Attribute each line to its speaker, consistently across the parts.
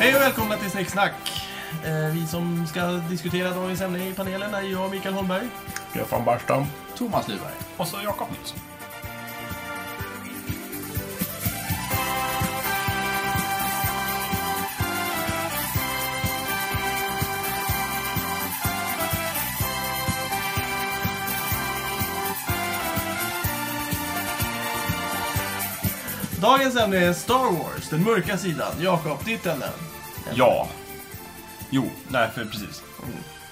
Speaker 1: Hej och välkomna till Snicksnack. Eh, vi som ska diskutera dagens ämne i panelen är jag, Mikael Holmberg.
Speaker 2: Stefan Barstam.
Speaker 3: Thomas Lyberg.
Speaker 4: Och så Jakob Nilsson.
Speaker 1: Dagens ämne är Star Wars, den mörka sidan. Jakob, ditt ämne.
Speaker 4: Ja. Jo, nej för precis.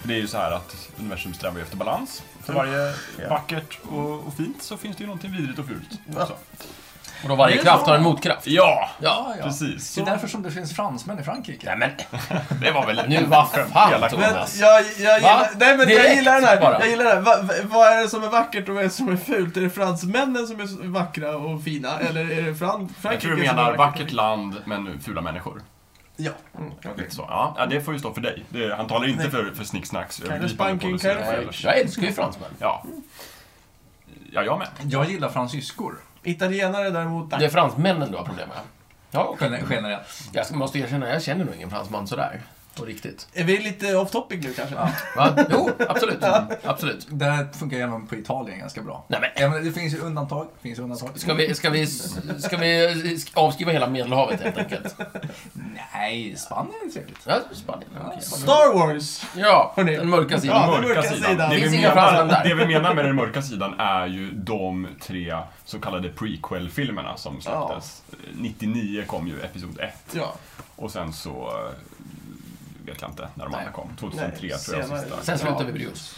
Speaker 4: Det är ju så här att universum strävar ju efter balans. För varje vackert och, och fint så finns det ju någonting vidrigt och fult. också.
Speaker 5: Och då varje
Speaker 1: Det är
Speaker 5: kraft
Speaker 1: så.
Speaker 5: har en motkraft.
Speaker 4: Ja,
Speaker 5: Ja, ja.
Speaker 4: precis.
Speaker 5: Så-
Speaker 4: Så,
Speaker 3: Det är därför som det finns fransmän i Frankrike.
Speaker 4: men, det var väl...
Speaker 5: Nu vad fan
Speaker 4: Elakt.
Speaker 1: Men
Speaker 5: Thomas.
Speaker 1: jag, jag, gillar, nej, men jag
Speaker 5: Direkt
Speaker 1: gillar den här.
Speaker 5: bara.
Speaker 1: Jag gillar den. Va, va, vad är det som är vackert och vad är det som är fult? Är det fransmännen som är så vackra och fina? Eller är det Fran Frankrike
Speaker 4: Jag tror du
Speaker 1: som är
Speaker 4: menar vackert land men fula människor. Mm,
Speaker 1: Ja.
Speaker 4: Lite så. Ja, ja, det får ju stå för dig. Det, han talar inte för, för snicksnacks
Speaker 1: spanking,
Speaker 4: policy
Speaker 1: kind of
Speaker 4: eller-
Speaker 5: Jag älskar ju fransmän.
Speaker 4: Ja. ja, jag med.
Speaker 3: Jag gillar fransyskor.
Speaker 1: Italienare däremot,
Speaker 5: Det är
Speaker 1: nej.
Speaker 5: fransmännen du har problem med. Ja, okej.
Speaker 3: Gener- Generellt.
Speaker 5: Jag ska- måste erkänna, jag känner nog ingen fransman sådär. På riktigt.
Speaker 1: Är vi lite off topic nu kanske?
Speaker 5: Va? Jo, absolut. Absolut.
Speaker 3: Det här funkar även på Italien ganska bra.
Speaker 5: Nej, men-
Speaker 3: Ja, men det finns ju undantag. Det finns ju undantag.
Speaker 5: Ska vi, ska vi, ska vi avskriva hela Medelhavet helt enkelt?
Speaker 3: Nej, Spanien är trevligt.
Speaker 5: Ja, Spanien. okej.
Speaker 1: Star Wars!
Speaker 5: Ja,
Speaker 1: Hörni.
Speaker 5: den mörka
Speaker 1: Ja,
Speaker 5: sidan.
Speaker 1: den mörka sidan.
Speaker 4: Det,
Speaker 5: Finns
Speaker 4: vi
Speaker 5: inga fransmän
Speaker 4: menar,
Speaker 5: där.
Speaker 4: det vi menar med den mörka sidan är ju de tre så kallade prequel-filmerna som släpptes. 99 kom ju episod 1
Speaker 1: Ja.
Speaker 4: och sen så eh, vet jag inte när de
Speaker 5: Nej.
Speaker 4: andra kom. 2003
Speaker 1: Nej,
Speaker 4: tror jag
Speaker 1: senare.
Speaker 4: sista.
Speaker 5: Sen slutar
Speaker 4: Ja.
Speaker 5: vi bry oss.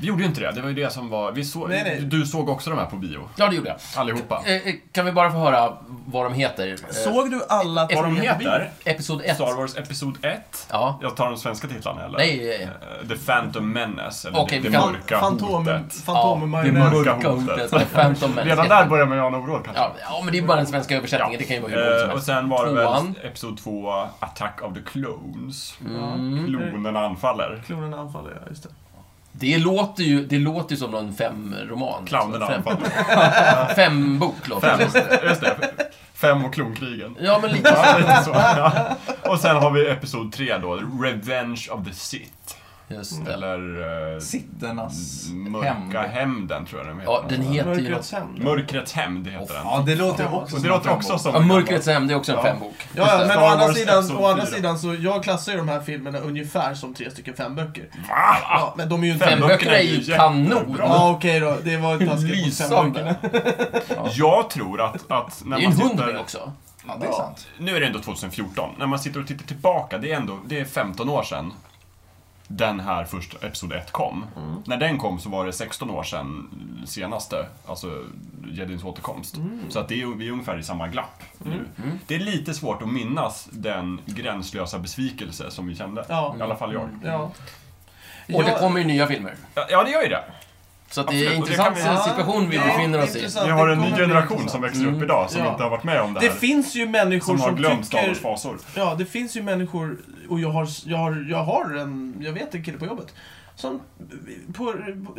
Speaker 4: Vi gjorde ju inte det, det var ju det som var... Vi såg,
Speaker 1: Nej, nej.
Speaker 4: Du såg också de här på bio,
Speaker 5: Ja, det gjorde jag.
Speaker 4: allihopa.
Speaker 5: Eh, eh, Kan vi bara få höra vad de heter? Eh,
Speaker 1: Såg du alla
Speaker 5: Vad
Speaker 4: de
Speaker 1: tre
Speaker 4: heter?
Speaker 1: filmer?
Speaker 5: Episod 1.
Speaker 4: Star Wars Episod 1.
Speaker 5: Ja.
Speaker 4: Jag tar de svenska titlarna eller?
Speaker 5: Nej, eh,
Speaker 4: Eh, The Phantom Menace, eller
Speaker 5: Okej,
Speaker 4: det,
Speaker 5: vi
Speaker 4: det
Speaker 5: kan-
Speaker 4: mörka
Speaker 1: Fantomen,
Speaker 4: hotet.
Speaker 1: Fantomen
Speaker 4: Det
Speaker 1: Marinette.
Speaker 4: mörka
Speaker 5: mörka
Speaker 4: hotet.
Speaker 5: hotet. med 15 människor.
Speaker 4: Redan där börjar man ju ana oro kanske.
Speaker 5: Ja, ja, men det är bara den svenska översättningen. Det kan ju vara hur långt
Speaker 4: Eh,
Speaker 5: som
Speaker 4: och
Speaker 5: helst.
Speaker 4: sen var det
Speaker 5: Tvåan.
Speaker 4: väl Episod 2, Attack of the Clones.
Speaker 5: Mm.
Speaker 4: Klonerna anfaller.
Speaker 1: Klonerna anfaller, ja just det.
Speaker 5: Det låter ju, det låter ju som någon femroman.
Speaker 4: Clownerna
Speaker 5: Fem,
Speaker 4: anfaller.
Speaker 5: fem bok låter
Speaker 4: Fem,
Speaker 5: det.
Speaker 4: just det. Fem och klonkrigen.
Speaker 5: Ja, men lite
Speaker 4: Ja, lite så. Ja. Och sen har vi Episod 3 då, Revenge of the Sith.
Speaker 5: Just det.
Speaker 4: Eller eh,
Speaker 3: Sitternas hem.
Speaker 4: Mm, Mörka hämnden tror jag den heter.
Speaker 5: Ja, den heter ju
Speaker 1: Mörkrets
Speaker 5: något...
Speaker 1: hämn.
Speaker 4: Mörkrets hämnd heter den.
Speaker 3: Ja, det låter också
Speaker 4: Och
Speaker 3: som
Speaker 4: det
Speaker 3: en
Speaker 4: låter
Speaker 3: fem
Speaker 4: också
Speaker 3: bok.
Speaker 4: som...
Speaker 5: Ja, Mörkrets hämnd, det är också en fembok.
Speaker 1: Ja, ja, men å
Speaker 4: Star
Speaker 1: andra,
Speaker 4: Wars
Speaker 1: sidan,
Speaker 4: Episod
Speaker 1: å andra
Speaker 4: fyra.
Speaker 1: sidan så, jag klassar ju de här filmerna ungefär som tre stycken femböcker.
Speaker 4: Va?
Speaker 1: Ja, men de är ju inte...
Speaker 4: Fem-
Speaker 5: Femböckerna är ju
Speaker 4: jättebra.
Speaker 5: kanon.
Speaker 1: Ja, okej då. Det var taskigt mot femböckerna.
Speaker 5: Lysande.
Speaker 4: Jag tror att, att
Speaker 5: Det
Speaker 4: när
Speaker 5: är ju en
Speaker 4: man
Speaker 5: hund
Speaker 4: tittar...
Speaker 5: med också.
Speaker 3: Ja, det är sant.
Speaker 4: Nu är det ändå 2014. När man sitter och tittar tillbaka, det är ändå det är 15 år sedan den här första Episod 1 kom.
Speaker 1: Mm.
Speaker 4: När den kom så var det 16 år sedan senaste, alltså Jedins återkomst.
Speaker 1: Mm.
Speaker 4: Så att det är, vi är ungefär i samma glapp nu. Det är lite svårt att minnas den gränslösa besvikelse som vi kände.
Speaker 1: Ja. Mm.
Speaker 4: I alla fall jag.
Speaker 1: Ja.
Speaker 5: Och det
Speaker 1: Jag-
Speaker 5: kommer ju nya filmer.
Speaker 4: Ja, det gör ju det.
Speaker 5: Så att det är
Speaker 4: Absolut, och
Speaker 5: en
Speaker 4: det
Speaker 5: intressant
Speaker 4: kan vi-
Speaker 5: situation vi
Speaker 1: Ja,
Speaker 5: befinner
Speaker 1: det är
Speaker 5: oss i.
Speaker 1: intressant.
Speaker 4: Vi har
Speaker 1: det
Speaker 4: en ny
Speaker 1: kommer bli
Speaker 4: generation
Speaker 1: intressant. Mm.
Speaker 4: som växer upp idag som
Speaker 1: Ja.
Speaker 4: inte har varit med om det här.
Speaker 1: Det finns ju människor
Speaker 4: som har
Speaker 1: som
Speaker 4: glömt Star
Speaker 1: tycker...
Speaker 4: Wars fasor.
Speaker 1: Ja, det finns ju människor, och jag har, jag har, jag har en, jag vet en kille på jobbet, som på,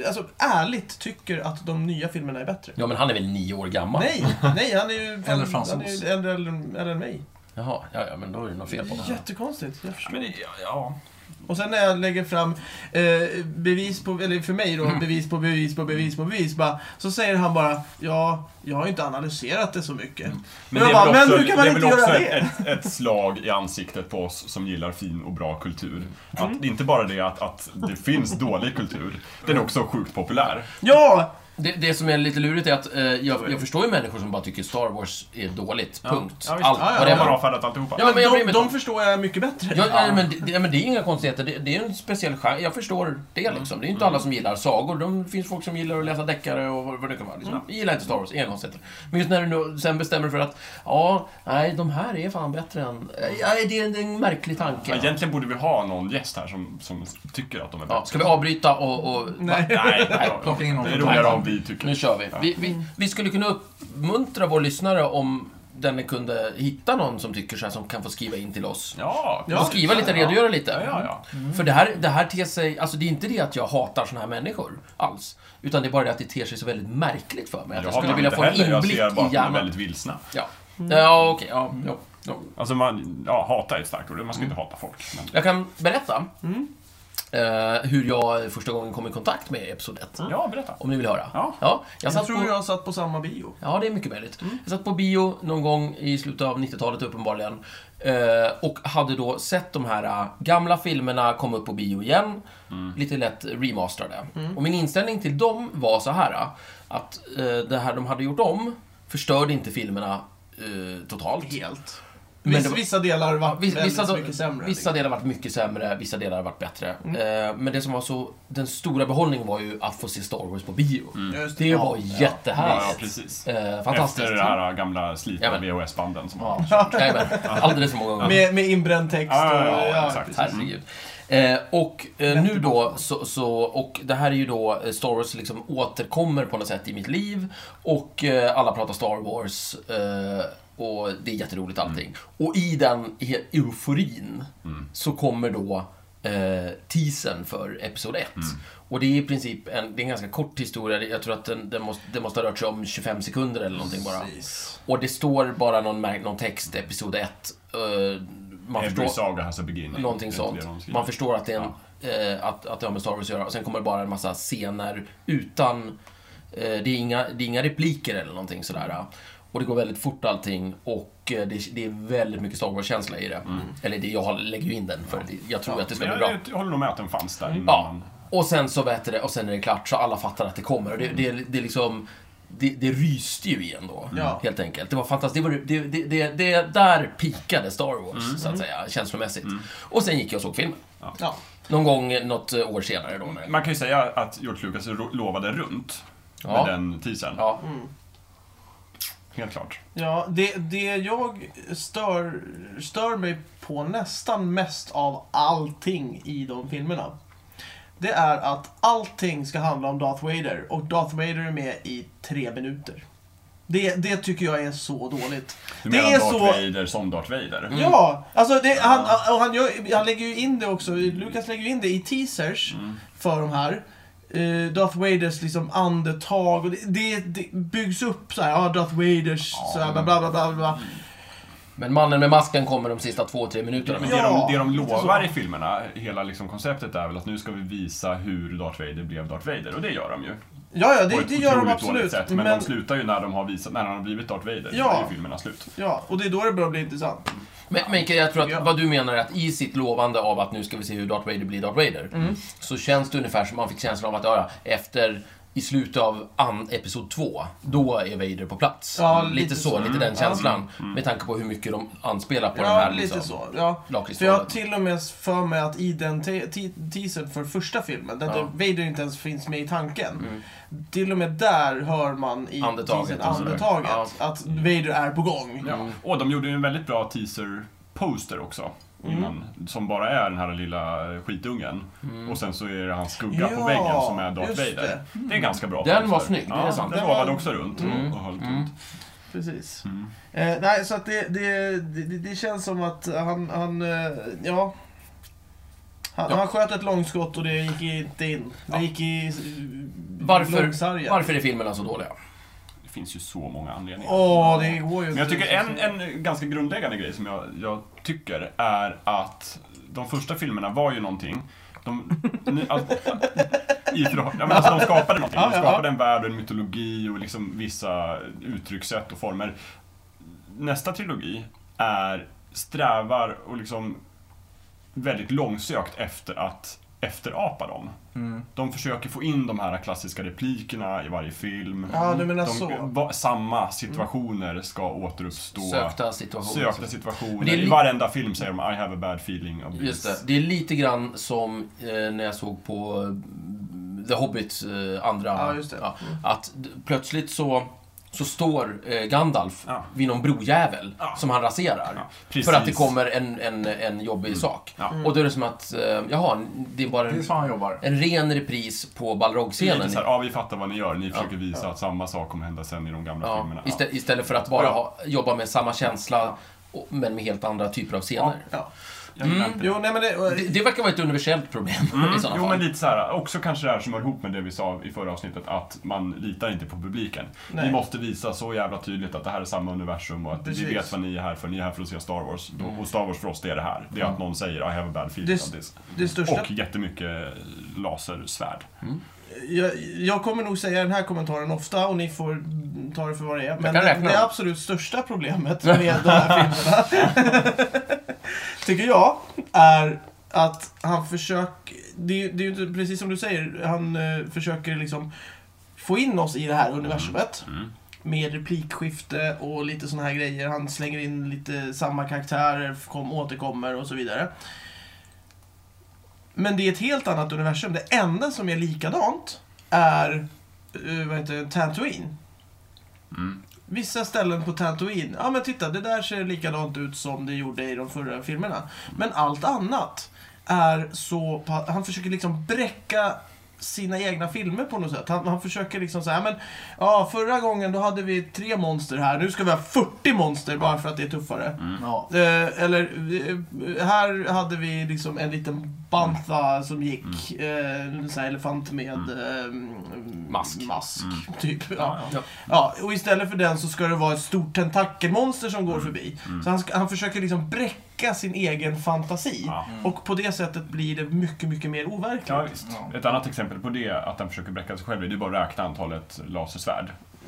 Speaker 1: alltså, ärligt tycker att de nya filmerna är bättre.
Speaker 5: Ja, men han är väl nio år gammal?
Speaker 1: Nej, nej, han är ju,
Speaker 3: Eller fransos.
Speaker 1: han är ju äldre, än- äldre än mig.
Speaker 5: Jaha, ja, ja, men då är det något fel på honom.
Speaker 1: Jättekonstigt. Jag förstår.
Speaker 4: Men det, ja, ja.
Speaker 1: Och sen när jag lägger fram eh, bevis på, eller för mig då,
Speaker 5: Mm.
Speaker 1: bevis på bevis på bevis på bevis, bara, så säger han bara ja, jag har ju inte analyserat det så mycket. Men,
Speaker 4: Mm. Men
Speaker 1: jag
Speaker 4: det är väl
Speaker 1: bara, men
Speaker 4: också,
Speaker 1: hur kan man
Speaker 4: det är
Speaker 1: inte
Speaker 4: väl
Speaker 1: göra
Speaker 4: också
Speaker 1: det?
Speaker 4: ett, ett, ett slag i ansiktet på oss som gillar fin och bra kultur.
Speaker 1: Mm.
Speaker 4: Att, det är inte bara det att, att det finns dålig kultur, den är också sjukt populär.
Speaker 1: Ja!
Speaker 5: Det, det som är lite lurigt är att eh, jag, jag förstår ju människor som bara tycker Star Wars är dåligt. Punkt.
Speaker 4: Ja, visst.
Speaker 5: Allt.
Speaker 1: Ja, ja,
Speaker 5: vad det
Speaker 4: De har
Speaker 5: var.
Speaker 4: avfärdat alltihopa.
Speaker 5: Ja, men jag bryr
Speaker 1: de,
Speaker 5: mig
Speaker 1: de
Speaker 5: inte.
Speaker 1: förstår jag mycket bättre.
Speaker 5: Ja, nej, men, det, ja, men det är inga konstigheter. Det, det är en speciell genre. Jag förstår det liksom. Det är inte alla som gillar sagor. De det finns folk som gillar att läsa deckare och vad vad det kan vara. Liksom. Jag gillar inte Star Wars, inga konstigheter. Men just när du nu sen bestämmer dig för att, ja, nej, de här är fan bättre än... Nej, det är en, det är en märklig
Speaker 4: Ja,
Speaker 5: tanke.
Speaker 4: Egentligen borde vi ha någon gäst här som, som tycker att de är bra.
Speaker 5: Ja, ska vi avbryta och... och
Speaker 1: Nej.
Speaker 4: Nej, nej,
Speaker 3: Plocka in någon
Speaker 4: det är
Speaker 3: från
Speaker 4: roligare
Speaker 3: Thailand.
Speaker 4: om vi
Speaker 5: Nu
Speaker 4: tycker.
Speaker 5: kör vi. Vi, vi. vi skulle kunna uppmuntra vår lyssnare om denne kunde hitta någon som tycker så här som kan få skriva in till oss.
Speaker 4: Ja,
Speaker 1: Ja.
Speaker 5: Och skriva lite, redogöra lite. Mm.
Speaker 4: Ja, ja, ja.
Speaker 5: För det här, det här ter sig, alltså det är inte det att jag hatar såna här människor alls. Utan det är bara det att det ter sig så väldigt märkligt för mig. Att jag,
Speaker 4: Jag har
Speaker 5: skulle
Speaker 4: väl
Speaker 5: vilja
Speaker 4: inte
Speaker 5: få en
Speaker 4: heller, jag
Speaker 5: inblick
Speaker 4: ser bara
Speaker 5: i
Speaker 4: att de är
Speaker 5: hjärnan.
Speaker 4: väldigt vilsna.
Speaker 5: Ja, ja okej. ja, ja.
Speaker 4: Alltså man, ja, hata är ett starkt ord. Man ska
Speaker 5: Mm.
Speaker 4: inte hata folk. Men,
Speaker 5: Jag kan berätta eh, hur jag första gången kom i kontakt med Episod 1.
Speaker 4: ja, berätta.
Speaker 5: Om ni vill höra.
Speaker 4: Ja.
Speaker 5: jag
Speaker 1: Jag
Speaker 5: satt
Speaker 1: tror
Speaker 5: på...
Speaker 1: jag satt på samma bio.
Speaker 5: Ja, det är mycket möjligt.
Speaker 4: Mm.
Speaker 5: Jag satt på bio någon gång i slutet av 90-talet uppenbarligen. eh, Och hade då sett de här eh, gamla filmerna komma upp på bio igen.
Speaker 4: Mm.
Speaker 5: Lite lätt remasterade. Och min inställning till dem var så här. eh, Att eh, det här de hade gjort om förstörde inte filmerna eh, totalt.
Speaker 1: Helt.
Speaker 5: Men
Speaker 1: Viss,
Speaker 5: det var-
Speaker 1: Vissa delar var
Speaker 5: Viss-
Speaker 1: väldigt
Speaker 5: vissa,
Speaker 1: mycket sämre. liksom.
Speaker 4: liksom.
Speaker 5: vissa delar har varit mycket sämre, vissa delar har varit bättre.
Speaker 4: Mm.
Speaker 5: Eh, men det som var så, den stora behållningen var ju att få se Star Wars på bio.
Speaker 1: liksom. Just
Speaker 5: Det var
Speaker 4: Mm. Ja, ja,
Speaker 5: jättehärligt.
Speaker 4: precis.
Speaker 5: eh, fantastiskt.
Speaker 4: Efter det här gamla slitna
Speaker 5: Jajamän.
Speaker 4: VHS-banden som man
Speaker 3: Ja.
Speaker 5: Jajamän, alldeles för många gånger.
Speaker 1: Med, med inbränd text.
Speaker 4: Ja, ja, ja,
Speaker 1: och-
Speaker 4: exakt.
Speaker 1: precis.
Speaker 5: Herregud. Eh, och eh, nu då, så, så, och det här är ju då, eh, Star Wars liksom återkommer på något sätt i mitt liv. Och eh, alla pratar Star Wars. Eh, och det är jätteroligt allting. Och i den he- euforin så kommer då eh, teasern för Episod 1. Och det är i princip en, det är en ganska kort historia. Jag tror att den, den, måste, den måste ha rört sig om 25 sekunder eller någonting bara.
Speaker 1: Precis.
Speaker 5: Och det står bara någon, märk- någon text, Episod 1. Eh, man
Speaker 4: Every
Speaker 5: förstår,
Speaker 4: saga has a beginning.
Speaker 5: Någonting
Speaker 4: Det är det de
Speaker 5: sånt.
Speaker 4: skriver.
Speaker 5: Man förstår att det, är en, eh, att, att det har med Star Wars att göra. Och sen kommer det bara en massa scener utan... Eh, det, är inga, det är inga repliker eller någonting sådär. Och det går väldigt fort allting och eh, det, det är väldigt mycket Star Wars-känsla i det. Eller det, jag har- lägger ju in den för det, jag tror att det ska
Speaker 4: Mm. Men
Speaker 5: bli
Speaker 4: jag,
Speaker 5: bra.
Speaker 4: jag, håller nog med att den fanns där
Speaker 1: Mm.
Speaker 4: innan.
Speaker 5: Ja.
Speaker 4: man-
Speaker 5: Och sen så vet det och sen är det klart så alla fattar att det kommer. Och det, det, det är liksom... Det, det ryste ju igen då,
Speaker 1: Ja.
Speaker 5: helt enkelt. Det var fantastiskt. Det, var, det, det, det, det där pikade Star Wars,
Speaker 1: Mm.
Speaker 5: så att säga, känslomässigt. Och sen gick jag och såg filmen.
Speaker 1: Ja.
Speaker 5: Någon gång eh, något eh, år senare då. när-
Speaker 4: Man kan ju säga att George Lucas ro- lovade runt
Speaker 5: Ja.
Speaker 4: med den teasern.
Speaker 5: Ja.
Speaker 4: Helt klart.
Speaker 1: Ja, det, det jag stör, stör mig på nästan mest av allting i de filmerna. Det är att allting ska handla om Darth Vader och Darth Vader är med i tre minuter. Det, det tycker jag är så dåligt.
Speaker 4: Du
Speaker 1: det
Speaker 4: menar
Speaker 1: är
Speaker 4: Darth
Speaker 1: så...
Speaker 4: Vader som Darth Vader?
Speaker 1: Ja, alltså det, han, och han, gör, han lägger ju in det också. Lucas lägger ju in det i teasers
Speaker 4: Mm.
Speaker 1: för de här. Eh, Darth Vaders liksom andetag och det, det, det byggs upp så här, ja Darth Vaders så här, bla bla bla bla. bla.
Speaker 4: Mm.
Speaker 5: Men mannen med masken kommer de sista två, tre minuterna.
Speaker 4: Men
Speaker 1: Ja,
Speaker 4: det, de, det de
Speaker 1: lite
Speaker 4: lovar
Speaker 1: så.
Speaker 4: i filmerna, hela liksom konceptet är väl att nu ska vi visa hur Darth Vader blev Darth Vader. Och det gör de ju.
Speaker 1: Ja, ja,
Speaker 4: på
Speaker 1: det,
Speaker 4: ett
Speaker 1: det gör de
Speaker 4: otroligt
Speaker 1: absolut.
Speaker 4: dåligt sätt. Men, de slutar ju när, de har visat, när han har blivit Darth Vader.
Speaker 1: Ja.
Speaker 4: Ja. Då är ju filmerna slut.
Speaker 1: ja, och det är då det börjar bli intressant.
Speaker 5: Men, men jag tror
Speaker 1: Ja.
Speaker 5: att vad du menar är att i sitt lovande av att nu ska vi se hur Darth Vader blir Darth Vader. Så känns det ungefär som man fick känslan av att, ja, ja, efter i slutet av an, episod 2, då är Vader på plats.
Speaker 1: Ja,
Speaker 5: lite,
Speaker 1: lite
Speaker 5: så,
Speaker 1: så.
Speaker 5: lite den känslan. Med tanke på hur mycket de anspelar på den
Speaker 1: Ja,
Speaker 5: här liksom.
Speaker 1: lite så. Ja. För jag har
Speaker 5: lakritsvålen.
Speaker 1: till och med för mig att i den te- te- teasern för första filmen, där
Speaker 5: Ja. Mm.
Speaker 1: Darth Vader inte ens finns med i tanken. Till och med där hör man i
Speaker 5: Andetaget
Speaker 1: teasern
Speaker 5: och sådär.
Speaker 1: andetaget
Speaker 5: Ja. Mm.
Speaker 1: att Vader är på gång.
Speaker 4: Ja. Mm. Och de gjorde ju en väldigt bra teaser-poster också.
Speaker 1: Mm.
Speaker 4: Innan, som bara är den här lilla skitungen.
Speaker 5: Mm.
Speaker 4: Och sen så är det hans skugga
Speaker 1: Mm. Ja,
Speaker 4: på väggen som är Darth
Speaker 1: just
Speaker 4: Vader.
Speaker 1: det. Mm.
Speaker 4: Det. är en ganska bra
Speaker 5: Den
Speaker 4: poster.
Speaker 5: var snygg, det är
Speaker 4: ja,
Speaker 5: sant. Mm.
Speaker 4: Den
Speaker 1: Den var-
Speaker 4: lovade också runt och, och höll Mm. runt.
Speaker 1: Precis. Eh, nej, så att det, det, det, det känns som att han, han eh, ja. Han,
Speaker 5: Ja.
Speaker 1: han sköt ett långskott och det gick inte in. Det gick i eh,
Speaker 5: Varför,
Speaker 1: långsargen.
Speaker 5: varför är filmerna så dåliga?
Speaker 4: Det finns ju så många anledningar.
Speaker 1: Åh, det går ju
Speaker 4: Men jag tycker en, en ganska grundläggande grej som jag, jag tycker är att de första filmerna var ju någonting. De, ni, all, i, förhåll- ja, men alltså de skapade någonting.
Speaker 1: Ja,
Speaker 4: De
Speaker 1: ja,
Speaker 4: skapade en värld och en mytologi och liksom vissa uttryckssätt och former. Nästa trilogi är strävar och liksom väldigt långsökt efter att efterapa dem.
Speaker 1: Mm.
Speaker 4: De försöker få in de här klassiska replikerna i varje film.
Speaker 1: Ja, du menar
Speaker 4: de,
Speaker 1: så.
Speaker 4: va, samma situationer ska återuppstå.
Speaker 5: Sökta situationer.
Speaker 4: Sökta situationer.
Speaker 5: Men det är li-
Speaker 4: I varenda film säger de I have a bad feeling of
Speaker 5: Just det.
Speaker 4: this.
Speaker 5: Det är lite grann som eh, när jag såg på eh, The Hobbit, eh, andra...
Speaker 1: Ja, just det.
Speaker 5: att d- plötsligt så, så står eh, Gandalf
Speaker 4: Ja.
Speaker 5: vid någon brojävel
Speaker 4: Ja.
Speaker 5: som han raserar.
Speaker 4: precis. Mm.
Speaker 5: för att det kommer en, en, en jobbig sak.
Speaker 4: Ja.
Speaker 5: Och då är det som att, eh, jaha, det är bara
Speaker 3: Det är
Speaker 5: en,
Speaker 3: så han jobbar.
Speaker 5: en ren repris på
Speaker 4: Det är lite
Speaker 5: Balrog-scenen.
Speaker 4: så här, ja vi fattar vad ni gör, ni försöker visa att samma sak kommer hända sen i de gamla
Speaker 5: Ja,
Speaker 4: filmerna. Ja.
Speaker 5: istä- istället för att bara ha, jobba med samma känsla, och- men med helt andra typer av scener.
Speaker 1: Ja.
Speaker 4: Jag gillar
Speaker 5: Mm.
Speaker 4: inte det.
Speaker 1: Jo, nej men det...
Speaker 5: Det, det verkar vara ett universellt problem i sådana
Speaker 4: Mm. Jo,
Speaker 5: fall.
Speaker 4: men lite så här. Också kanske det här som hör ihop med det vi sa i förra avsnittet, att man litar inte på publiken.
Speaker 1: Nej.
Speaker 4: Vi måste visa så jävla tydligt att det här är samma universum och att
Speaker 1: Precis.
Speaker 4: vi vet vad ni är här för. Ni är här för att se Star Wars.
Speaker 5: Mm.
Speaker 4: Och Star Wars för oss, det är det här. Det är att någon säger I have a bad feeling
Speaker 1: Det-
Speaker 4: on this.
Speaker 1: det största-
Speaker 4: Och jättemycket lasersvärd.
Speaker 5: Mm.
Speaker 1: Jag, jag kommer nog säga den här kommentaren ofta och ni får ta det för vad det är. Men
Speaker 5: kan
Speaker 1: det,
Speaker 5: räkna
Speaker 1: det
Speaker 5: dem.
Speaker 1: absolut största problemet med de här filmerna, tycker jag, är att han försöker... Det, är ju- det är ju inte precis som du säger, han eh, försöker liksom få in oss i det här universumet.
Speaker 4: Mm.
Speaker 1: Med replikskifte och lite såna här grejer. Han slänger in lite samma karaktärer, kom, återkommer och så vidare. Men det är ett helt annat universum. Det enda som är likadant är eh, vad heter det, Tatooine.
Speaker 4: Mm.
Speaker 1: Vissa ställen på Tatooine, ja men titta det där ser likadant ut som det gjorde i de förra filmerna. Men allt annat är så, pa- han försöker liksom bräcka sina egna filmer på något sätt. Han, han försöker liksom säga, men ja förra gången då hade vi tre monster här, nu ska vi ha 40 monster bara för att det är tuffare.
Speaker 4: Mm.
Speaker 3: Ja.
Speaker 1: Eh, eller, eh, här hade vi liksom en liten bantha
Speaker 4: Mm.
Speaker 1: som gick, eh, en sån här elefant med eh,
Speaker 5: Mask.
Speaker 1: mask
Speaker 4: Mm.
Speaker 1: typ. Ja.
Speaker 5: Ja.
Speaker 1: Ja, och istället för den så ska det vara ett stort tentakelmonster som går
Speaker 4: Mm.
Speaker 1: förbi. Så han, ska, han försöker liksom bräcka sin egen fantasi.
Speaker 4: Ja.
Speaker 1: Och på det sättet blir det mycket, mycket mer overkligt.
Speaker 4: Ja, visst.
Speaker 3: Ja.
Speaker 4: Ett annat exempel på det, att han försöker bräcka sig själv, det är bara att räkna antalet lasersvärd.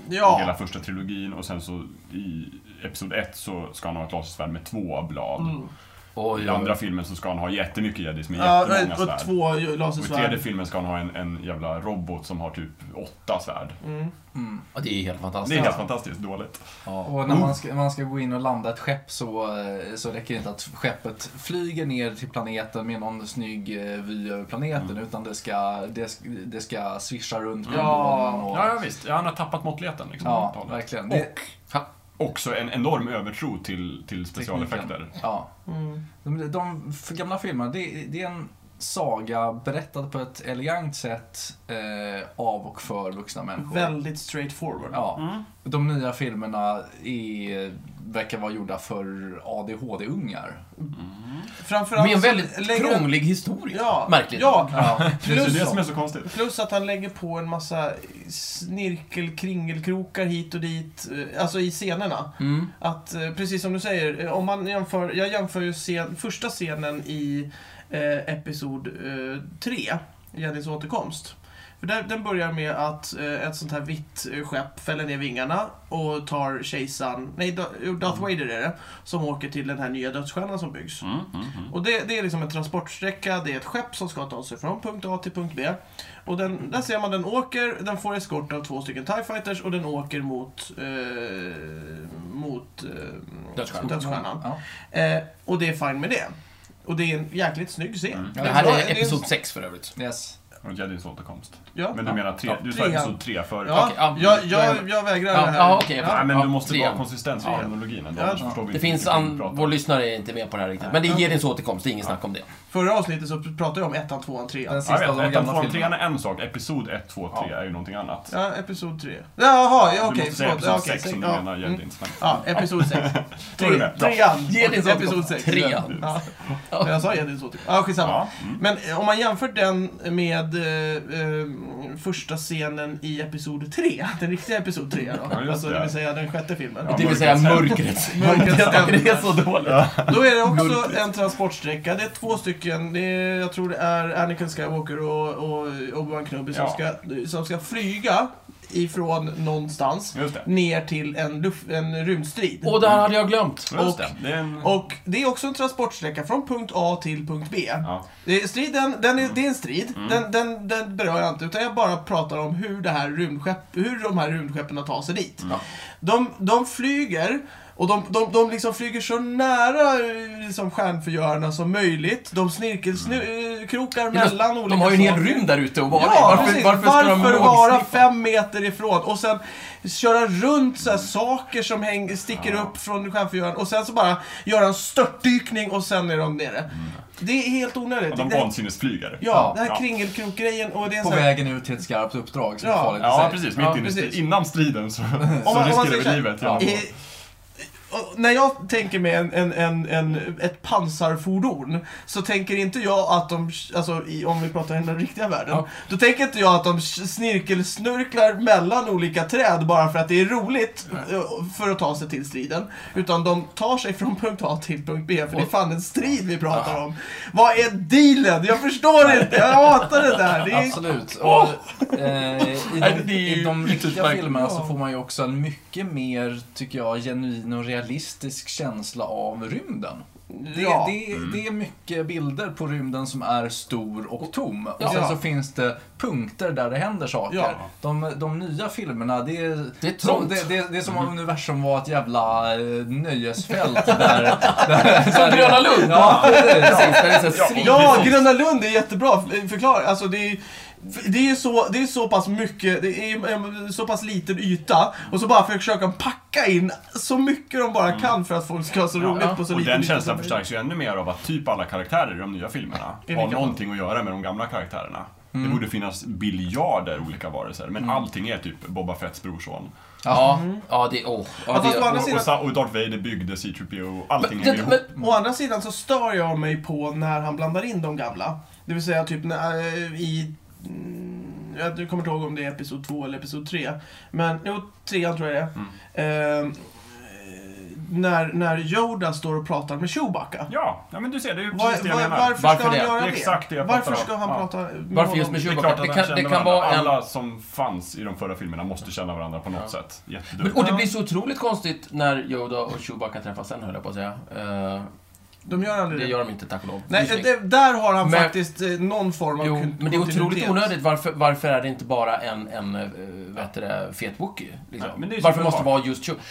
Speaker 1: Ja.
Speaker 4: Hela första trilogin och sen så i Episod 1 så ska han ha ett lasersvärd med två blad.
Speaker 5: Oj,
Speaker 4: I
Speaker 5: oj,
Speaker 4: andra filmen så ska han ha jättemycket jedis med
Speaker 1: Mm. Ja,
Speaker 4: jättemånga
Speaker 1: och
Speaker 4: svärd.
Speaker 1: två
Speaker 4: Och i
Speaker 1: lasersvärd.
Speaker 4: tredje filmen ska han ha en, en jävla robot som har typ åtta svärd.
Speaker 1: Mm,
Speaker 5: Ja, det är helt
Speaker 4: Det
Speaker 5: fantastiskt.
Speaker 4: är helt fantastiskt dåligt.
Speaker 5: Ja.
Speaker 3: Mm. Och när man ska, man ska gå in och landa ett skepp så, eh, så räcker det inte att skeppet flyger ner till planeten med någon snygg eh, vy över planeten utan det ska, det, ska- det ska swisha runt på
Speaker 1: Ja.
Speaker 3: månen och,
Speaker 4: Ja, ja visst. Ja, han har tappat måttligheten liksom.
Speaker 3: ja,
Speaker 4: talet.
Speaker 3: verkligen. Det,
Speaker 5: Ha.
Speaker 4: Också en enorm övertro till, till specialeffekter.
Speaker 3: ja.
Speaker 1: Mm.
Speaker 3: De, de för gamla filmerna, det, det är en saga berättad på ett elegant sätt eh, av och för vuxna
Speaker 4: Mm.
Speaker 3: människor.
Speaker 1: Väldigt straightforward.
Speaker 3: Ja. De nya filmerna är, verkar vara gjorda för ADHD-ungar.
Speaker 1: Framförallt
Speaker 5: Med en
Speaker 1: så
Speaker 5: väldigt
Speaker 1: alltså, lägger-
Speaker 5: krånglig historia.
Speaker 1: Ja,
Speaker 5: Märkligt.
Speaker 1: ja.
Speaker 3: Ja.
Speaker 4: Det är
Speaker 1: Plus-
Speaker 4: det som är så konstigt.
Speaker 1: Plus att han lägger på en massa snirkel-kringelkrokar hit och dit, eh, alltså i scenerna.
Speaker 5: Mm.
Speaker 1: Att, eh, precis som du säger, eh, om man jämför, jag jämför ju scen, första scenen i eh, Episod 3, Jennys återkomst. För där, den börjar med att eh, ett sånt här vitt eh, skepp fäller ner vingarna och tar kejsaren, nej Da- jo, Darth Vader är det, som åker till den här nya dödsstjärnan som byggs.
Speaker 4: Mm, mm, mm.
Speaker 1: Och det, det är liksom en transportsträcka, det är ett skepp som ska ta sig från punkt A till punkt B. Och den, där ser man den åker, den får eskort av två stycken TIE fighters och den åker mot, eh, mot eh,
Speaker 5: Dödsstjärnan.
Speaker 1: dödsstjärnan.
Speaker 3: Ja.
Speaker 1: Eh, och det är fine med det. Och det är en jäkligt snygg scen.
Speaker 5: Mm. Det här
Speaker 1: Ja, det
Speaker 5: är episod 6 för övrigt.
Speaker 3: Yes.
Speaker 4: Och Jedins återkomst.
Speaker 1: Ja,
Speaker 4: Men du menar tre,
Speaker 5: Ja,
Speaker 4: du sa
Speaker 1: trean.
Speaker 4: episod tre förut.
Speaker 1: ja,
Speaker 5: Okej, ja,
Speaker 1: jag,
Speaker 5: då är
Speaker 1: jag,
Speaker 5: det-
Speaker 1: jag vägrar
Speaker 5: Ja,
Speaker 1: det här.
Speaker 5: ja, okej, jag
Speaker 4: Nej, men
Speaker 5: Ja,
Speaker 4: du måste
Speaker 5: trean.
Speaker 4: vara konsistens i
Speaker 1: Ja.
Speaker 4: kronologin ändå,
Speaker 1: Ja.
Speaker 4: annars förstår vi
Speaker 5: Det
Speaker 4: inte
Speaker 5: finns
Speaker 4: riktigt vad vi
Speaker 5: an...
Speaker 4: pratar om.
Speaker 5: Vår lyssnare är inte med på det här riktigt. Men det ger din återkomst, det är ingen snack om det.
Speaker 1: Förra avsnittet så pratade jag om ettan, tvåan, trean.
Speaker 3: Den sista
Speaker 4: Ja, jag
Speaker 3: av de
Speaker 4: vet, ettan,
Speaker 3: gamla
Speaker 4: tvåan, trean
Speaker 3: filmerna.
Speaker 4: är en sak. Episod 1, 2, 3 är ju någonting annat.
Speaker 1: Ja, episod tre. Jaha, ja,
Speaker 4: du
Speaker 1: okej.
Speaker 4: måste säga
Speaker 1: Förlåt.
Speaker 4: episod
Speaker 1: Ja,
Speaker 4: 6
Speaker 1: okej,
Speaker 4: om du
Speaker 1: ja,
Speaker 4: menar
Speaker 1: mm.
Speaker 4: Jedins. men-
Speaker 1: Ja, episod 6.
Speaker 4: Var du med?
Speaker 1: Trean.
Speaker 5: Jedins återkomst.
Speaker 1: Episod 6.
Speaker 5: Trean.
Speaker 1: Ja. Men Jag sa Jedins återkomst. Ja, skitsamma.
Speaker 4: Ja.
Speaker 1: Men eh, om man jämför den med eh, eh, första scenen i Episod 3, den riktiga Episod 3 då,
Speaker 4: Ja, just
Speaker 1: alltså det
Speaker 4: det.
Speaker 1: vill säga den sjätte filmen.
Speaker 4: Ja,
Speaker 5: Det vill säga mörkrets...
Speaker 1: Mörkrets ämne.
Speaker 5: Det är så dåligt.
Speaker 1: Då är det också en transportsträcka. Det är två stycken, det är, jag tror det är Anakin Skywalker och, och Obi-Wan Kenobi som,
Speaker 4: Ja.
Speaker 1: ska, som ska flyga ifrån någonstans
Speaker 4: Just det.
Speaker 1: ner till en, luft, en rymdstrid.
Speaker 5: Och det här hade jag glömt.
Speaker 4: Just
Speaker 1: Och-
Speaker 4: det. det är
Speaker 5: Mm.
Speaker 4: en...
Speaker 1: Och det är också en transportsträcka från punkt A till punkt B.
Speaker 4: ja.
Speaker 1: Det är- Striden, den
Speaker 5: Mm.
Speaker 1: är, det är en strid. Den, den, den berör jag inte, utan jag bara pratar om hur, det här rymdskepp, hur de här rymdskeppen tar sig dit.
Speaker 5: Mm.
Speaker 1: De, de flyger, och de, de, de liksom flyger så nära eh, liksom, stjärnförgörarna som möjligt. De snirkelkrokar mellan olika
Speaker 5: Mm. De har ju en hel
Speaker 1: saker.
Speaker 5: rymd där ute och vara i.
Speaker 1: Ja, precis. varför, vara
Speaker 5: lågsniffa?
Speaker 1: fem meter ifrån och sen köra runt så här saker som häng, sticker upp från stjärnfyraren och sen så bara göra en störtdykning och sen är de nere. Det är helt onödigt.
Speaker 4: Och de
Speaker 1: det, ja,
Speaker 4: vansinnesflyger.
Speaker 1: Mm. ja, det här
Speaker 4: Ja.
Speaker 1: kringelkrokgrejen och det är
Speaker 3: På
Speaker 1: så här,
Speaker 3: vägen ut till ett skarpt uppdrag som
Speaker 1: Ja.
Speaker 3: är farligt i
Speaker 4: Ja,
Speaker 3: sig.
Speaker 4: precis. Mitt
Speaker 1: Ja,
Speaker 4: inne i
Speaker 1: precis.
Speaker 4: innan striden så, så
Speaker 1: om man
Speaker 4: riskerar
Speaker 1: säger
Speaker 4: vi
Speaker 1: så här-
Speaker 4: livet. Ja.
Speaker 1: I, och när jag tänker mig en, en, en, en, ett pansarfordon så tänker inte jag att de, alltså i, om vi pratar i den riktiga världen,
Speaker 3: Ja.
Speaker 1: då tänker inte jag att de snirkelsnurklar mellan olika träd bara för att det är roligt eh, för att ta sig till striden. Utan de tar sig från punkt A till punkt B, för det är fan en strid vi pratar om. Vad är dealen? Jag förstår inte, jag hatar det där. Det är,
Speaker 3: Absolut.
Speaker 5: Åh!
Speaker 3: Och, eh, i,
Speaker 5: Nej,
Speaker 3: de,
Speaker 5: det är ju
Speaker 3: I de riktiga
Speaker 5: utmärkt.
Speaker 3: filmerna så
Speaker 1: Ja.
Speaker 3: får man ju också en mycket mer, tycker jag, genuin och realistisk känsla av rymden. Det,
Speaker 1: Ja.
Speaker 3: det, det är mycket bilder på rymden som är stor och tom. Och sen
Speaker 1: Ja.
Speaker 3: så finns det punkter där det händer saker.
Speaker 1: Ja.
Speaker 3: De, de nya filmerna, det är,
Speaker 5: Det är
Speaker 3: som,
Speaker 5: trångt.
Speaker 3: det, det, det är som om universum var ett jävla eh, nöjesfält. Där, där,
Speaker 5: Som Gröna Lund!
Speaker 3: Ja, precis.
Speaker 5: Precis, där det är så här
Speaker 4: Ja.
Speaker 5: svin-
Speaker 1: Ja,
Speaker 4: Precis.
Speaker 1: Gröna Lund är jättebra förklarat. Alltså det är det är ju så, det är så pass mycket, det är eh, så pass liten yta och så bara försöka packa in så mycket de bara kan för att folk ska ha så roligt
Speaker 3: ja.
Speaker 1: på så
Speaker 4: Mm. Och
Speaker 1: liten
Speaker 4: den
Speaker 1: yta
Speaker 4: känslan
Speaker 1: som möjligt.
Speaker 4: förstärks ju ännu mer av att typ alla karaktärer i de nya filmerna
Speaker 1: Är
Speaker 4: har
Speaker 1: lika.
Speaker 4: någonting att göra med de gamla karaktärerna.
Speaker 5: Mm.
Speaker 4: Det borde finnas biljarder olika varelser, men allting är typ Boba Fetts brorson.
Speaker 5: Ja, ja det... Åh.
Speaker 1: Mm. Ja,
Speaker 5: Ja,
Speaker 1: fast å
Speaker 5: det...
Speaker 1: andra
Speaker 4: Och, och,
Speaker 1: sidan-
Speaker 4: Sa- och Darth Vader byggde C-3PO, allting hänger
Speaker 5: Men,
Speaker 4: ihop.
Speaker 5: men,
Speaker 1: Å andra sidan så stör jag mig på när han blandar in de gamla. Det vill säga typ när, eh, i... mm, Jag kommer inte ihåg om det är episod 2 eller episod 3. Men jo, 3 tror jag det är.
Speaker 4: Mm.
Speaker 1: Eh, när, när Yoda står och pratar med Chewbacca.
Speaker 4: Ja, ja, men du ser, det är ju
Speaker 1: Var,
Speaker 4: precis det jag
Speaker 1: var,
Speaker 4: menar.
Speaker 1: varför,
Speaker 5: Varför
Speaker 1: ska han
Speaker 5: det?
Speaker 1: göra
Speaker 4: Det
Speaker 1: det?
Speaker 4: är exakt det jag
Speaker 1: varför
Speaker 4: pratar
Speaker 1: ska
Speaker 4: om.
Speaker 1: han
Speaker 4: Ja.
Speaker 1: prata med
Speaker 5: Varför just
Speaker 1: honom?
Speaker 5: med
Speaker 4: Det är
Speaker 5: Chewbacca?
Speaker 4: klart
Speaker 5: Det
Speaker 4: att
Speaker 5: kan,
Speaker 4: han
Speaker 5: det
Speaker 4: kände
Speaker 5: kan
Speaker 4: varandra.
Speaker 5: vara en...
Speaker 4: Alla som fanns i de förra filmerna måste känna varandra på något sätt.
Speaker 5: Men,
Speaker 4: Jättedumt.
Speaker 5: och det blir så otroligt konstigt när Yoda och Chewbacca träffas sen, höll jag på att säga. Eh,
Speaker 1: De gör aldrig
Speaker 5: det
Speaker 1: det.
Speaker 5: gör de inte, tack och lov.
Speaker 1: Nej,
Speaker 5: Visning.
Speaker 1: det, där har han
Speaker 5: Men-
Speaker 1: faktiskt eh, någon form av
Speaker 5: Jo,
Speaker 1: kon-
Speaker 5: men det är otroligt
Speaker 1: kontinuitet.
Speaker 5: onödigt. Varför, varför är det inte bara en, en äh, vad heter det, fet wookie? Liksom?
Speaker 4: Nej, men det är ju
Speaker 5: varför
Speaker 4: som
Speaker 5: måste det
Speaker 4: det var.
Speaker 5: vara just Chewie?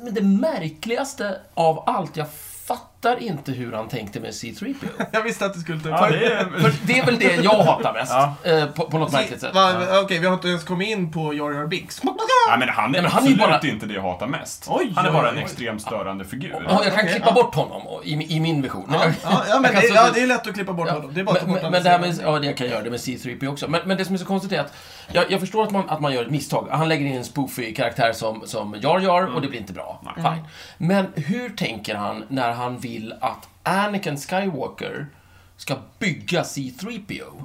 Speaker 5: Men det märkligaste av allt, jag fattar inte hur han tänkte med C3PO.
Speaker 1: Jag visste att du skulle ta upp
Speaker 4: Ja, det är...
Speaker 5: För det är väl det jag hatar mest,
Speaker 4: Ja.
Speaker 5: eh, på, på något märkligt sätt.
Speaker 1: Va- Okej, vi har inte ens kommit in på Jar Jar Binks.
Speaker 4: Nej, men han är
Speaker 5: Nej, men han är ju
Speaker 4: absolut
Speaker 5: bara-
Speaker 4: inte det jag hatar mest.
Speaker 1: Oj,
Speaker 4: han är
Speaker 1: oj,
Speaker 4: bara
Speaker 1: oj,
Speaker 4: en
Speaker 1: oj.
Speaker 4: extremt störande figur.
Speaker 5: Ja, jag kan
Speaker 1: Okej,
Speaker 5: klippa
Speaker 1: ja.
Speaker 5: bort honom och- i, i min vision.
Speaker 1: Ja, ja, ja, men
Speaker 5: Jag kan
Speaker 1: det,
Speaker 5: så-
Speaker 1: ja, det är lätt att klippa bort honom. Det är bara att ta
Speaker 5: men,
Speaker 1: bort
Speaker 5: men,
Speaker 1: alla
Speaker 5: men det här med,
Speaker 1: sidor.
Speaker 5: ja, det kan jag göra det med C3P också. Men, men det som är så konstigt är att jag, jag förstår att man, att man gör ett misstag. Han lägger in en spoofig karaktär som, som Jar Jar och det blir inte bra.
Speaker 1: Mm.
Speaker 5: Fine. Men hur tänker han när han vill att Anakin Skywalker ska bygga C3PO?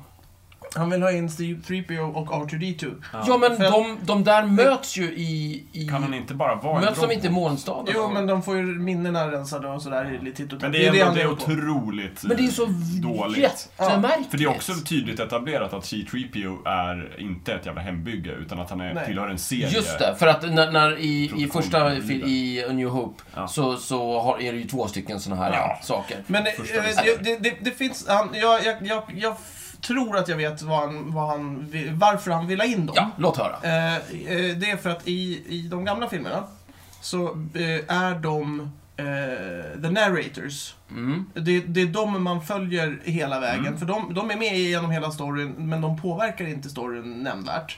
Speaker 1: Han vill ha in Steve 3PO och R2D2.
Speaker 5: Ja, men
Speaker 1: För att-
Speaker 5: de, de där möts ju i... i
Speaker 4: Kan han inte bara vara
Speaker 5: möts
Speaker 4: en
Speaker 5: de inte i molnstaden?
Speaker 1: Jo, men de får ju minnena rensade och sådär lite titt och
Speaker 4: Men
Speaker 1: tätt.
Speaker 4: det är, ändå, det är
Speaker 1: han jobbar på.
Speaker 4: otroligt
Speaker 5: Men det är ju så
Speaker 4: dåligt.
Speaker 5: jättemärkligt.
Speaker 4: För det är också tydligt etablerat att C-3PO är inte ett jävla hembygge, utan att han är,
Speaker 1: Nej.
Speaker 4: tillhör en serie.
Speaker 5: Just det, för att när, när i, i
Speaker 4: Produktion.
Speaker 5: första fil- i A New Hope
Speaker 4: Ja.
Speaker 5: så, så har, är det ju två stycken såna här
Speaker 4: Ja.
Speaker 5: saker.
Speaker 1: Men eh,
Speaker 4: Första
Speaker 1: eh,
Speaker 5: visningen.
Speaker 1: det, det, det finns, han, jag, jag, jag, jag f- tror att jag vet vad han, vad han, vill- varför han vill ha in dem.
Speaker 5: Ja, låt höra.
Speaker 1: Eh, eh, det är för att i, i de gamla filmerna så eh, är de eh, the narrators.
Speaker 5: Mm.
Speaker 1: Det, det är de man följer hela vägen. För de, de är med genom hela storyn, men de påverkar inte storyn nämnvärt.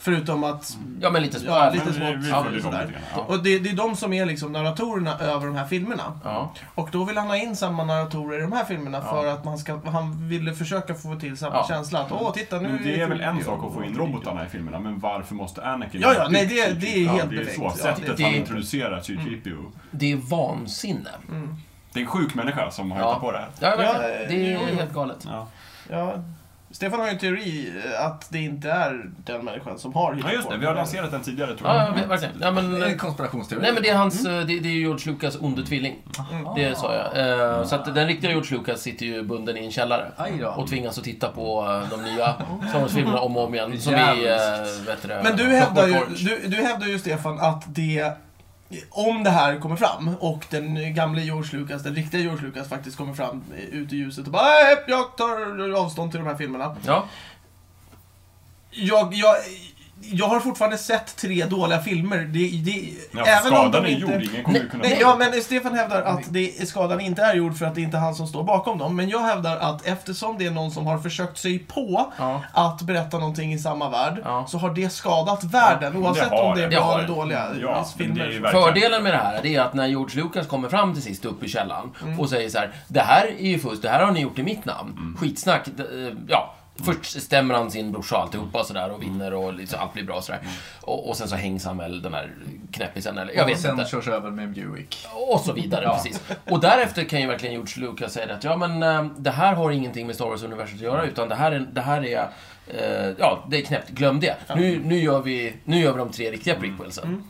Speaker 1: Förutom att...
Speaker 5: Ja, men lite så.
Speaker 1: Ja,
Speaker 4: Men
Speaker 1: lite
Speaker 4: vi- vi
Speaker 1: smått.
Speaker 4: följer dem
Speaker 1: sådär.
Speaker 4: lite grann, ja.
Speaker 1: Och det, det är de som är liksom narratorerna över de här filmerna.
Speaker 5: Ja.
Speaker 1: Och då vill han ha in samma narratorer i de här filmerna för att man ska, han ville försöka få till samma
Speaker 5: Ja.
Speaker 1: känsla. Att, Åh, titta nu
Speaker 4: Men det är väl en sak att få in
Speaker 1: robotar.
Speaker 4: robotarna i filmerna, men varför måste Anakin
Speaker 1: Ja, ja,
Speaker 4: ha
Speaker 1: nej,
Speaker 4: byggt
Speaker 1: det är- det är
Speaker 4: C-3PO?
Speaker 1: helt
Speaker 4: Det är
Speaker 1: perfekt.
Speaker 4: så,
Speaker 1: Ja,
Speaker 4: sättet
Speaker 5: det-
Speaker 4: han
Speaker 5: det-
Speaker 4: introducerar C-3PO.
Speaker 5: Det är vansinne.
Speaker 4: Det är en sjuk människa som har
Speaker 5: Ja.
Speaker 4: hittat på det här.
Speaker 5: Ja,
Speaker 1: Ja, eh,
Speaker 5: verkligen. det
Speaker 1: jo,
Speaker 5: är
Speaker 1: jo.
Speaker 5: helt galet.
Speaker 4: Ja.
Speaker 1: Ja. Stefan har ju en teori eh, att det inte är den människan som har hittat
Speaker 4: ja, just
Speaker 1: på
Speaker 4: det.
Speaker 1: den.
Speaker 4: Vi har lanserat den tidigare, tror
Speaker 5: Ja,
Speaker 4: jag.
Speaker 5: ja,
Speaker 1: Mm.
Speaker 5: verkligen. Ja, men,
Speaker 3: Det är en konspirationsteori.
Speaker 5: nej, men det är, hans, eh, det, det är ju George Lucas onde tvilling.
Speaker 3: Ah.
Speaker 5: Det sa jag. Eh, Så att den riktiga George Lucas sitter ju bunden i en källare.
Speaker 3: Aj då.
Speaker 5: Och tvingas att titta på eh, de nya Star Wars-filmerna om och om igen. Som i, eh, vet du det,
Speaker 1: Men du
Speaker 5: Clockwork
Speaker 1: hävdar, ju,
Speaker 5: Orange.
Speaker 1: du, du hävdar ju, Stefan, att det... Om det här kommer fram och den gamle George Lucas, den riktiga George Lucas faktiskt kommer fram eh, ut i ljuset och bara "Nej, jag tar avstånd till de här filmerna.
Speaker 5: Ja.
Speaker 1: Jag, jag, jag har fortfarande sett tre dåliga filmer. Det, det,
Speaker 4: Ja,
Speaker 1: även om
Speaker 4: skadan
Speaker 1: de
Speaker 4: är
Speaker 1: inte...
Speaker 4: gjord, ingen kommer ju kunna...
Speaker 1: Nej, ja, men Stefan hävdar att det, skadan inte är gjord för att det inte är han som står bakom dem. Men jag hävdar att eftersom det är någon som har försökt sig på
Speaker 5: Ja.
Speaker 1: att berätta någonting i samma värld
Speaker 5: Ja. så
Speaker 1: så har det skadat världen oavsett
Speaker 4: har
Speaker 1: om det är
Speaker 5: det. Det
Speaker 1: bra
Speaker 5: har
Speaker 1: eller
Speaker 5: det.
Speaker 1: dåliga
Speaker 4: Ja, men det är ju
Speaker 1: filmer.
Speaker 4: verkligen...
Speaker 5: Fördelen med det här det är att när George Lucas kommer fram till sist upp i
Speaker 3: Mm.
Speaker 5: källan och säger så här Det här är ju fusk, det här har ni gjort i mitt namn. Skitsnack, d- eh, ja.
Speaker 3: Mm.
Speaker 5: Först stämmer han sin brorsa och alltihopa och sådär och vinner och liksom allt blir bra och sådär. Och, och sen så hängs han väl den där knäppisen eller jag
Speaker 3: Mm. och
Speaker 5: vet
Speaker 3: sen
Speaker 5: inte.
Speaker 3: körs över med en Buick.
Speaker 5: Och så vidare, precis. Och därefter kan ju verkligen George Lucas säga att ja men eh, det här har ingenting med Star Wars-universet att
Speaker 1: Mm.
Speaker 5: göra utan det här är, det här är eh, Ja, det är knäppt. Glöm det. Nu, nu, gör, vi, nu gör vi de tre riktiga
Speaker 1: Mm.
Speaker 5: prequelsen.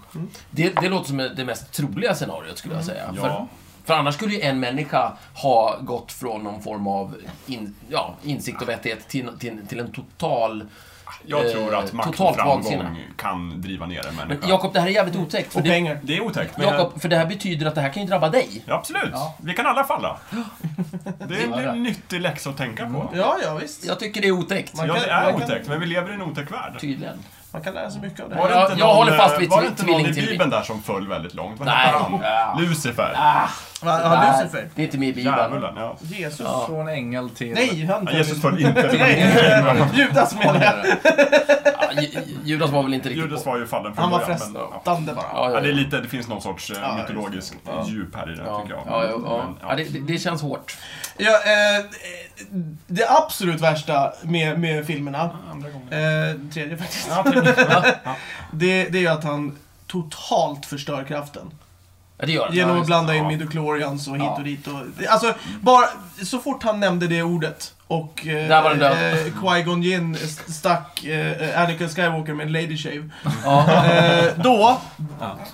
Speaker 5: Det, det låter som det mest troliga scenariot skulle
Speaker 1: Mm.
Speaker 5: jag säga. För,
Speaker 4: Ja.
Speaker 5: för annars skulle ju en människa ha gått från någon form av in, ja, insikt och vettighet till, till, till en total...
Speaker 4: Jag
Speaker 5: Eh,
Speaker 4: tror att makt och
Speaker 5: totalt
Speaker 4: framgång
Speaker 5: vansinne.
Speaker 4: kan driva ner en
Speaker 5: Men
Speaker 4: människa.
Speaker 5: Jakob, det här är jävligt otäckt. För
Speaker 1: Och
Speaker 5: det,
Speaker 1: pengar.
Speaker 4: Det är otäckt, men...
Speaker 5: Jakob, för det här betyder att det här kan ju drabba dig.
Speaker 4: Ja, absolut.
Speaker 3: Ja.
Speaker 4: Vi kan alla falla. Det är
Speaker 3: Ja.
Speaker 4: en nyttig läxa att tänka på.
Speaker 1: Ja, ja visst.
Speaker 5: Jag tycker det är otäckt.
Speaker 4: Ja, det är
Speaker 1: Mm. Man kan-
Speaker 4: otäckt, men vi lever i en otäck värld.
Speaker 5: Tydligen.
Speaker 1: Man kan lära sig mycket av det
Speaker 4: Var
Speaker 1: här.
Speaker 4: det
Speaker 5: Jag-
Speaker 4: inte
Speaker 5: jag
Speaker 4: någon,
Speaker 5: håller fast
Speaker 4: eh,
Speaker 5: vid
Speaker 4: Var det inte någon i
Speaker 5: tvillingteorin.
Speaker 4: Bibeln där som föll väldigt långt? Vad
Speaker 5: Nej.
Speaker 4: hette han?
Speaker 5: Ja.
Speaker 4: Lucifer.
Speaker 1: Vad
Speaker 5: Nej,
Speaker 1: har Lucifer?
Speaker 5: Det är inte med i Bibeln.
Speaker 4: Djävulen, ja.
Speaker 1: Jesus.
Speaker 3: Från ängel till...
Speaker 1: Nej, han
Speaker 4: Ja,
Speaker 1: föll
Speaker 4: Jesus
Speaker 1: inte.
Speaker 4: föll inte.
Speaker 1: Nej, eh, Judas menar jag.
Speaker 5: Ja, Ju- Judas var väl inte riktigt
Speaker 4: Judas
Speaker 5: på.
Speaker 4: var ju fallen från
Speaker 1: Han var
Speaker 4: början, men, ja.
Speaker 1: frestande bara.
Speaker 5: Ja,
Speaker 4: Ja,
Speaker 5: ja,
Speaker 4: det, är
Speaker 5: ja.
Speaker 4: lite, det finns någon sorts eh,
Speaker 1: Ja,
Speaker 4: mytologiskt djup här i det,
Speaker 5: Ja,
Speaker 4: tycker jag.
Speaker 5: ja, ja, ja.
Speaker 4: Men,
Speaker 5: Ja, det, det- det känns hårt.
Speaker 1: Ja, eh, det absolut värsta med, med filmerna,
Speaker 4: Andra gången.
Speaker 1: eh, tredje faktiskt,
Speaker 4: Ja, till-
Speaker 1: det, det är ju att han totalt förstör kraften.
Speaker 5: Ja, det gör det.
Speaker 1: Genom
Speaker 5: Ja,
Speaker 1: att blanda in
Speaker 4: Ja.
Speaker 1: midichlorians och hit
Speaker 5: Ja.
Speaker 1: och dit. Och, alltså, bara, så fort han nämnde det ordet och eh,
Speaker 5: Där var den död.
Speaker 1: eh, Qui-Gon Jinn st- stack eh, Anakin Skywalker med en lady shave.
Speaker 5: Ja.
Speaker 1: Eh, då,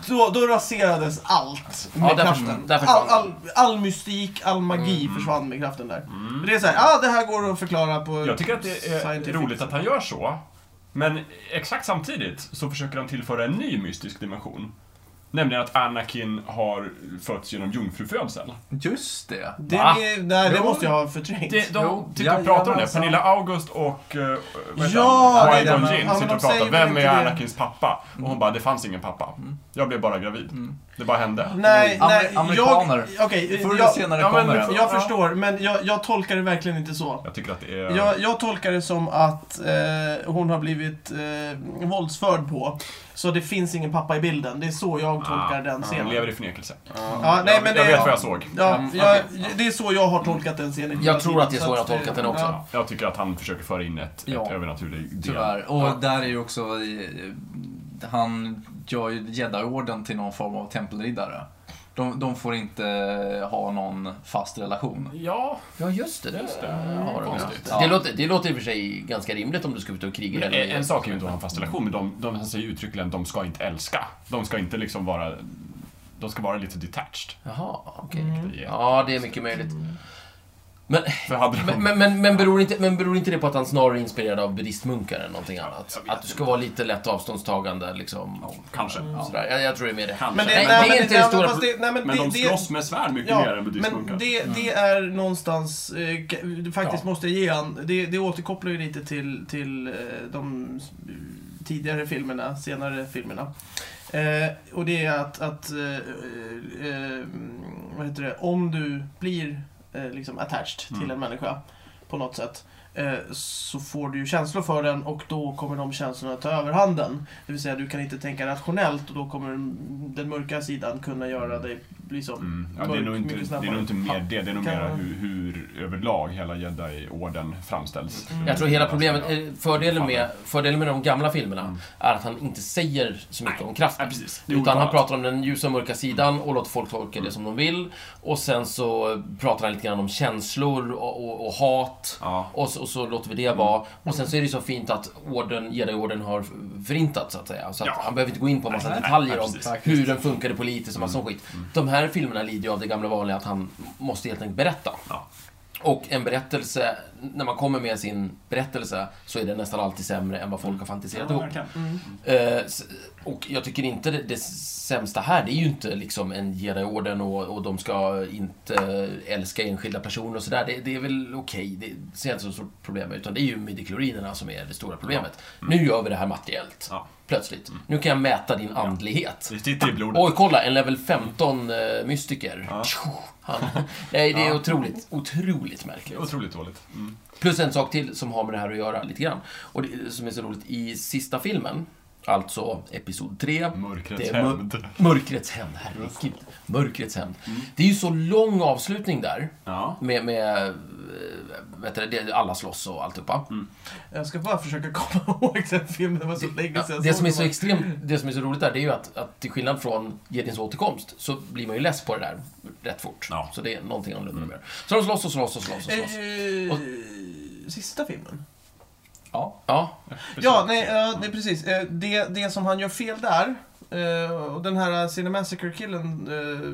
Speaker 1: då, då raserades allt med
Speaker 5: Ja, där försvann-
Speaker 1: kraften.
Speaker 5: där försvann Mm.
Speaker 1: all, all, all mystik, all magi försvann med kraften där. Det är såhär, ah, det här går att förklara på...
Speaker 4: Jag tycker att det är
Speaker 1: scientific.
Speaker 4: roligt att han gör så. Men exakt samtidigt så försöker han tillföra en ny mystisk dimension. Nämligen att Anakin har fötts genom jungfrufödsel.
Speaker 3: Just det.
Speaker 1: Det,
Speaker 5: Va?
Speaker 1: är- nej, det
Speaker 4: Jo.
Speaker 1: måste jag ha förträngt.
Speaker 4: Det,
Speaker 3: Jo,
Speaker 4: de sitter och
Speaker 3: jajamensan.
Speaker 4: pratar om det. Pernilla August och eh, vad heter
Speaker 1: alltså- Ja,
Speaker 4: han?
Speaker 1: det är
Speaker 4: Qui-Gon
Speaker 1: den. Ja,
Speaker 4: Jinn
Speaker 1: men
Speaker 4: sitter
Speaker 1: de
Speaker 4: och
Speaker 1: säger
Speaker 4: pratar.
Speaker 1: väl
Speaker 4: Vem
Speaker 1: inte
Speaker 4: är
Speaker 1: det?" Mm.
Speaker 4: Anakins pappa? Och hon bara, det fanns ingen pappa. Jag blev bara gravid. Det bara hände.
Speaker 1: Nej, nej.
Speaker 3: Amer- amerikaner.
Speaker 1: Jag, okej,
Speaker 3: Förr eller
Speaker 1: jag,
Speaker 3: senare
Speaker 4: ja, men-
Speaker 3: kommer det.
Speaker 1: jag förstår, men jag, jag tolkar det verkligen inte så.
Speaker 4: Jag tycker att det är...
Speaker 1: Jag, jag tolkar det som att eh, hon har blivit eh, våldsförd på. Så det finns ingen pappa i bilden. Det är så
Speaker 4: Ah,
Speaker 1: jag tolkar den
Speaker 4: Han
Speaker 1: scenen.
Speaker 4: lever i förnekelse.
Speaker 1: Ja, nej,
Speaker 4: jag,
Speaker 1: men det,
Speaker 4: jag vet vad jag såg.
Speaker 1: Ja,
Speaker 5: Mm,
Speaker 1: jag,
Speaker 5: okej.
Speaker 1: det är så jag har tolkat den scenen. hela
Speaker 5: Jag tror att det är
Speaker 1: tiden,
Speaker 5: så jag har
Speaker 1: att det-
Speaker 5: tolkat den också.
Speaker 1: ja.
Speaker 4: Jag tycker att han försöker föra in ett, ett
Speaker 3: Ja.
Speaker 4: övernaturligt del.
Speaker 3: Tyvärr. Och där är ju också... eh, Han gör ju Jedi-orden till någon form av tempelriddare. De, de får inte eh, ha någon fast relation.
Speaker 4: Ja,
Speaker 5: Ja, just det. Just det.
Speaker 1: Mm,
Speaker 4: vad
Speaker 5: Ja,
Speaker 4: konstigt.
Speaker 5: det, låter, det låter i och för sig ganska rimligt om du ska ut och kriga.
Speaker 4: Men
Speaker 5: eller-
Speaker 4: Eh, en, en sak är ju inte att ha en fast relation, men de, de han säger ju uttryckligen att de ska inte älska. De ska inte liksom vara... De ska vara lite detached.
Speaker 5: Jaha, okej.
Speaker 4: Mm. Det är- Mm.
Speaker 5: Ja, det är mycket möjligt. Men,
Speaker 4: För hade de...
Speaker 5: men, men, men, men, beror inte, men beror inte det på att han snarare är inspirerad av buddhistmunkar än någonting annat?
Speaker 4: jag vet
Speaker 5: Att du ska vara lite lätt avståndstagande liksom.
Speaker 4: Kanske.
Speaker 5: Sådär. Jag, jag tror det är mer det.
Speaker 4: Kanske.
Speaker 1: Men det,
Speaker 5: Nej,
Speaker 1: nej,
Speaker 5: det är
Speaker 1: men
Speaker 5: inte
Speaker 1: det-
Speaker 5: det stora
Speaker 1: fast det- nej, Mm. men
Speaker 4: Men de
Speaker 1: det- det-
Speaker 4: slåss med svärd mycket mer
Speaker 1: Ja,
Speaker 4: än
Speaker 1: men
Speaker 4: buddhistmunkar.
Speaker 1: det, det är någonstans, eh, ka- faktiskt måste jag ge han, det, det återkopplar ju lite till, till eh, de s- tidigare filmerna, senare filmerna. Eh, och det är att, att eh, eh, vad heter det, om du blir eh, liksom attached till
Speaker 4: Mm.
Speaker 1: en människa på något sätt eh, så får du ju känslor för den och då kommer de känslorna ta överhanden. Det vill säga du kan inte tänka rationellt och då kommer den mörka sidan kunna göra dig liksom
Speaker 4: Mm. Ja, det, är nog inte,
Speaker 1: Mycket
Speaker 4: det
Speaker 1: snabbare.
Speaker 4: är nog inte mer det, det är nog
Speaker 1: Kan-
Speaker 4: mer hur, hur överlag hela jedi-orden framställs.
Speaker 1: Mm.
Speaker 5: Jag tror
Speaker 4: Mm.
Speaker 5: hela problemet, eh, fördelen med, fördelen med de gamla filmerna är att han inte säger så mycket om
Speaker 4: Nej,
Speaker 5: kraften.
Speaker 4: precis. Det är Mm.
Speaker 5: Utan han
Speaker 4: outtalat.
Speaker 5: pratar om den ljusa och mörka sidan och låter folk tolka det som de vill. Och sen så pratar han lite grann om känslor och, och, och hat.
Speaker 4: Ja. Mm.
Speaker 5: Och så, och så låter vi det vara. Och sen så är det så fint att orden, jedi-orden har förintats, så att säga. Så att
Speaker 4: Ja.
Speaker 5: han behöver inte gå in på en massa
Speaker 4: Nej,
Speaker 5: detaljer
Speaker 4: nej,
Speaker 5: om
Speaker 4: precis. Mm.
Speaker 5: hur den funkade politiskt och massa sån skit. De här filmerna lider ju av det gamla vanliga att han måste helt enkelt berätta.
Speaker 4: Ja.
Speaker 5: Och en berättelse, när man kommer med sin berättelse så är den nästan alltid sämre än vad folk har fantiserat ihop. Eh, s- och jag tycker inte det, det sämsta här, det är ju inte liksom en jedi-orden och, och de ska inte älska enskilda personer och sådär. Det, det är väl okej, det ser jag inte så stort problem utan det är ju midichlorinerna som är det stora problemet. Nu gör vi det här materiellt,
Speaker 4: Ja. Mm.
Speaker 5: plötsligt. Nu kan jag mäta din andlighet.
Speaker 4: Det sitter i blodet.
Speaker 5: Oj, kolla, en level 15 eh, mystiker. Tjo, Han. Nej, det är otroligt, otroligt märkligt.
Speaker 4: Otroligt dåligt. Mm.
Speaker 5: Plus en sak till som har med det här att göra lite grann. Och det som är så roligt, i sista filmen Alltså Episod 3.
Speaker 4: Mörkrets
Speaker 5: Det är mör-
Speaker 4: hämnd.
Speaker 5: Mörkrets hämnd, herregud. Mörkrets hämnd. Det är ju så lång avslutning där.
Speaker 4: Ja.
Speaker 5: Med, med eh, vet du, det- alla slåss och alltihopa.
Speaker 1: Jag ska bara försöka komma ihåg den filmen, det var så länge
Speaker 5: Ja,
Speaker 1: sedan jag
Speaker 5: det,
Speaker 1: såg
Speaker 5: som är så
Speaker 1: den.
Speaker 5: extremt, det som är så roligt där, det är ju att, att till skillnad från Gedins återkomst så blir man ju less på det där rätt fort.
Speaker 4: Ja.
Speaker 5: Så det är någonting annorlunda med det. Så de slåss och slåss och slåss och slåss.
Speaker 1: Eh, Sista filmen?
Speaker 3: Ja.
Speaker 5: Ja,
Speaker 1: Ja, nej, eh, nej precis. Eh, Det, det som han gör fel där, eh, och den här Cinemassacre-killen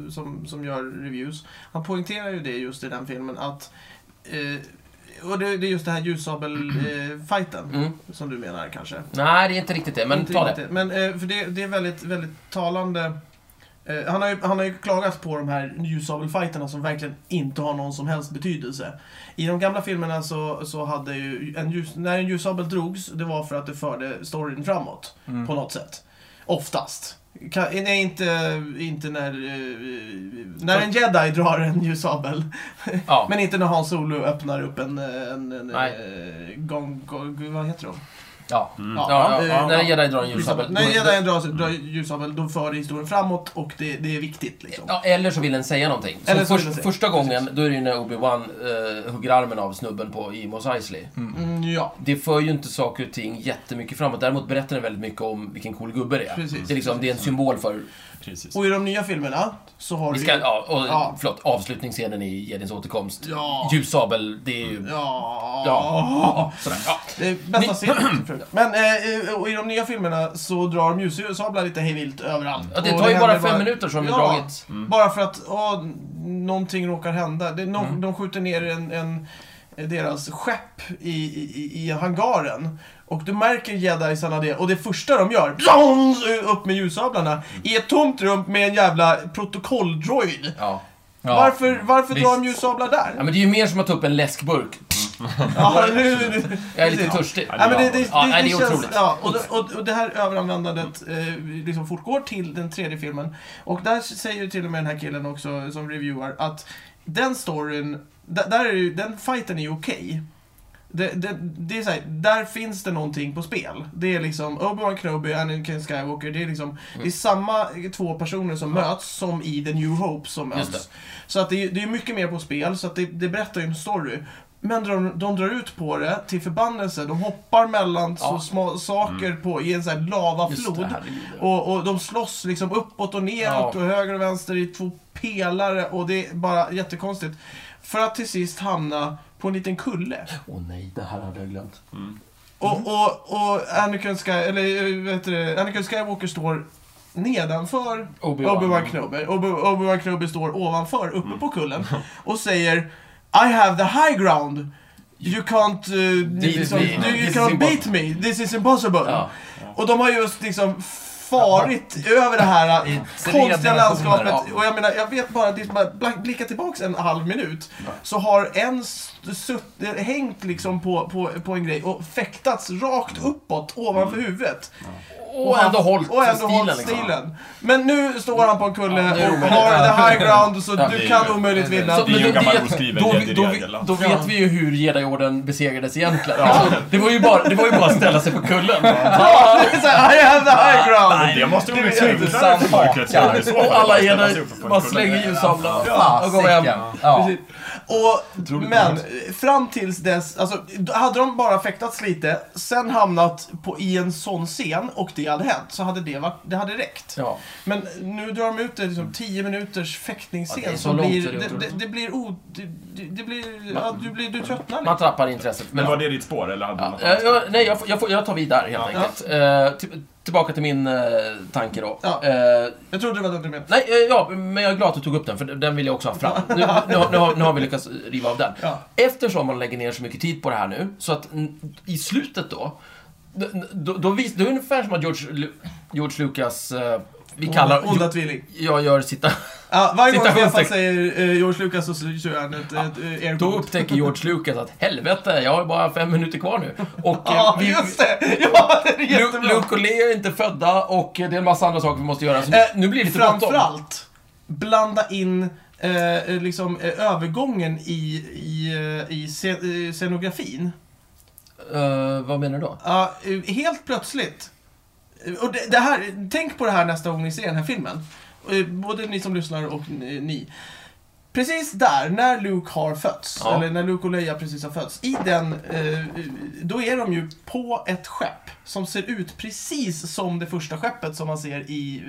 Speaker 1: eh, som, som gör reviews, han poängterar ju det just i den filmen att eh, och det, det är just det här ljussabel-fighten
Speaker 5: Mm.
Speaker 1: som du menar kanske.
Speaker 5: nej det är inte riktigt det, men
Speaker 1: Inte
Speaker 5: ta det.
Speaker 1: riktigt. Men eh, för det, det är väldigt, väldigt talande. Eh, han, har ju, han har ju klagat på de här ljusabelfighterna som verkligen inte har någon som helst betydelse. I de gamla filmerna så, så hade ju en ljus, när en ljusabel drogs, det var för att det förde storyn framåt.
Speaker 5: Mm.
Speaker 3: Mm.
Speaker 1: På något sätt. Oftast. Kan, nej, inte, inte när, eh, när en jedi drar en ljusabel.
Speaker 5: Ja.
Speaker 1: Men inte när Hans Solo öppnar upp en, en, en,
Speaker 5: Nej.
Speaker 1: eh, gong, gong, vad heter de?
Speaker 5: Ja.
Speaker 1: Ja,
Speaker 5: Ja, ja,
Speaker 1: eh,
Speaker 5: när en jedi drar en ljusabel.
Speaker 1: när
Speaker 5: då-
Speaker 1: jedi drar, drar ljussabel, då för det historien framåt och det, det är viktigt liksom.
Speaker 5: Ja, eller så vill den säga någonting. Så
Speaker 1: Eller så vill
Speaker 5: först,
Speaker 1: den säga.
Speaker 5: första gången, då är det ju när Obi-Wan eh, hugger armen av snubben på i Mos Eisley.
Speaker 1: Mm, ja.
Speaker 5: Det för ju inte saker och ting jättemycket framåt. Däremot berättar den väldigt mycket om vilken cool gubbe det är.
Speaker 1: Precis.
Speaker 5: det, är liksom, det är en symbol för...
Speaker 4: Precis.
Speaker 1: Och i de nya filmerna så har
Speaker 5: Vi
Speaker 1: du
Speaker 5: ska,
Speaker 1: ju...
Speaker 5: ja, och,
Speaker 1: Ja.
Speaker 5: Förlåt, avslutningsscenen i Jedins återkomst.
Speaker 1: Ja. Mm.
Speaker 5: Ljussabel, det är ju...
Speaker 1: Ja.
Speaker 5: Ja. Sådär. Ja.
Speaker 1: Det är bästa scenen. förut. Men eh, och i de nya filmerna så drar de ljussablar lite hejvilt överallt.
Speaker 5: Ja, det
Speaker 1: Och
Speaker 5: tar ju bara
Speaker 1: händer
Speaker 5: fem minuter som vi
Speaker 1: ja,
Speaker 5: dragit.
Speaker 1: Bara för att åh, någonting råkar hända. Det, nå- De skjuter ner en, en, deras skepp i, i, i hangaren. Och du märker jedisarna det. Och det första de gör, Zons! upp med ljussablarna. I ett tomt rum med en jävla protokolldroid.
Speaker 5: Ja.
Speaker 3: Ja.
Speaker 1: varför varför
Speaker 3: visst.
Speaker 1: drar de ljussablar där?
Speaker 5: ja, men det är ju mer som att ta upp en läskburk.
Speaker 1: Ja, nu, nu.
Speaker 5: Jag är lite
Speaker 1: Precis.
Speaker 5: törstig.
Speaker 1: Ja, men det, det, det,
Speaker 5: Ja, nej, det är
Speaker 1: känns,
Speaker 5: otroligt.
Speaker 1: Ja, och, det- och, och det här överanvändandet eh, liksom fortgår till den tredje filmen. Och där säger ju till och med den här killen också som reviewar att den storyn, där, där är ju, den fighten är ju okej. Det, det, det är så här, där finns det någonting på spel. Det är liksom Obi-Wan Kenobi, Anakin Skywalker. Det är liksom,
Speaker 5: Mm.
Speaker 1: det är samma två personer som möts som i The New Hope som
Speaker 5: Just det.
Speaker 1: möts. Så att det, är- det är mycket mer på spel, så att det, det berättar ju en story. Men de, de drar ut på det till förbannelse. De hoppar mellan
Speaker 5: Ja. Mm.
Speaker 1: så små saker på, i en sån här
Speaker 5: Just det,
Speaker 1: lavaflod.
Speaker 5: herregud.
Speaker 1: Och, och de slåss liksom uppåt och neråt
Speaker 5: Ja.
Speaker 1: och höger och vänster i två pelare och det är bara jättekonstigt. För att till sist hamna på en liten kulle.
Speaker 5: Åh nej, det här hade jag glömt.
Speaker 1: Och, och, och Anakin, Sky, eller, eh, vet du, Anakin Skywalker står nedanför
Speaker 5: Obi-Wan. Mm.
Speaker 1: Obi-Wan Kenobi. Obi- Obi-Wan Kenobi står ovanför, uppe på kullen och säger I have the high ground. You can't, uh,
Speaker 5: is
Speaker 1: liksom,
Speaker 5: me.
Speaker 1: you
Speaker 5: This is
Speaker 1: can't beat
Speaker 5: impossible."
Speaker 1: me. This is impossible.
Speaker 5: Ja.
Speaker 1: Och de har just liksom farit över det här eh, konstiga
Speaker 3: generationer,
Speaker 1: landskapet.
Speaker 5: ja.
Speaker 1: Och jag menar, jag vet bara, det är bara blank- blicka tillbaks en halv minut. Så har en s- sutt, eh, hängt liksom på, på, på en grej och fäktats rakt uppåt ovanför huvudet.
Speaker 5: Och, ändå
Speaker 1: haft-
Speaker 5: hållit
Speaker 1: och ändå
Speaker 5: stilen.
Speaker 1: hållit
Speaker 5: liksom.
Speaker 1: stilen. Men nu står han på en
Speaker 5: Ja, det
Speaker 1: kulle
Speaker 5: är
Speaker 1: och
Speaker 5: omöjligt.
Speaker 1: har the high ground så
Speaker 5: Ja,
Speaker 4: det
Speaker 1: du
Speaker 4: är
Speaker 1: kan
Speaker 4: ju-
Speaker 1: omöjligt
Speaker 5: det är-
Speaker 1: vinna.
Speaker 5: Så-
Speaker 4: Det är
Speaker 5: men
Speaker 4: ju en
Speaker 5: då
Speaker 4: gammal
Speaker 5: vet-
Speaker 4: oskriven
Speaker 5: Då, vi- då, vi-
Speaker 4: jedi-regel.
Speaker 5: då vet vi ju hur jediorden besegrades egentligen. Alltså, det, var ju bara, det var ju bara att ställa sig på kullen.
Speaker 1: Ja, det är så här, I have the high ground!
Speaker 4: Det måste vara mycket enklare
Speaker 3: intressant
Speaker 4: för mörkrets
Speaker 3: haka.
Speaker 4: hämnd i så fall.
Speaker 5: Och alla
Speaker 4: Bara ställa sig
Speaker 5: jedi
Speaker 4: uppe på en
Speaker 5: bara
Speaker 4: kulle.
Speaker 5: slänger ljussablar
Speaker 3: Ja,
Speaker 5: och går hem.
Speaker 3: säcken. Ja.
Speaker 1: Precis. Och,
Speaker 3: Otroligt
Speaker 1: men
Speaker 3: bra.
Speaker 1: fram tills dess, alltså, då hade de bara fäktats lite, sen hamnat på, i en sån scen och det hade hänt, så hade det, varit, det hade räckt.
Speaker 5: Ja.
Speaker 1: Men nu drar de ut det liksom 10 minuters fäktningsscen
Speaker 5: Ja, det är så
Speaker 1: som
Speaker 5: långt,
Speaker 1: blir,
Speaker 5: så det är
Speaker 1: det,
Speaker 5: otroligt.
Speaker 1: det, det blir o... Det, det- det blir, ja, du, blir, du tröttnar
Speaker 5: Man
Speaker 1: lite.
Speaker 5: tappar intresset.
Speaker 4: Men
Speaker 5: Men,
Speaker 4: var det ditt spår eller hade du
Speaker 5: ja,
Speaker 4: något
Speaker 5: jag,
Speaker 4: annat?
Speaker 5: jag, nej, jag, får- jag, får, jag tar vid där helt
Speaker 4: Ja.
Speaker 5: enkelt. Eh, till- tillbaka till min eh, tanke då.
Speaker 1: Ja.
Speaker 5: Eh,
Speaker 1: Jag trodde det var det du menade.
Speaker 5: Nej, eh, ja, men jag är glad att du tog upp den, för den vill jag också ha fram. Nu, nu, har- nu, har, nu har vi lyckats riva av den.
Speaker 1: Ja.
Speaker 5: Eftersom man lägger ner så mycket tid på det här nu, så att mm, i slutet då, då, då, då vis, det är ungefär som att George, Lu- George Lucas, eh, vi kallar...
Speaker 1: Onda tvilling.
Speaker 5: jag gör sitta...
Speaker 1: Ja, varje gång
Speaker 5: Citationstecken.
Speaker 1: Stefan säger eh, George Lucas så kör han ett, ett, ett
Speaker 5: Då
Speaker 1: airboat.
Speaker 5: upptäcker George Lucas att helvete, jag har bara fem minuter kvar nu. Och, eh,
Speaker 1: Ja,
Speaker 5: vi,
Speaker 1: just det! Ja, det är
Speaker 5: Lu-
Speaker 1: jättebra!
Speaker 5: Luke och Leo är inte födda och eh, det är en massa andra saker vi måste göra. Så nu,
Speaker 1: Eh,
Speaker 5: nu blir det lite bråttom.
Speaker 1: Framförallt, blanda in eh, eh, liksom, eh, övergången i, i, eh, i sce- eh, scenografin.
Speaker 5: Eh, vad menar du då?
Speaker 1: Ja, eh, helt plötsligt Och det, det här, tänk på det här nästa gång ni ser den här filmen. Eh, Både ni som lyssnar och ni. ni. Precis där, när Luke har fötts,
Speaker 5: Ja.
Speaker 1: eller när Luke och Leia precis har fötts, i den, eh, då är de ju på ett skepp som ser ut precis som det första skeppet som man ser i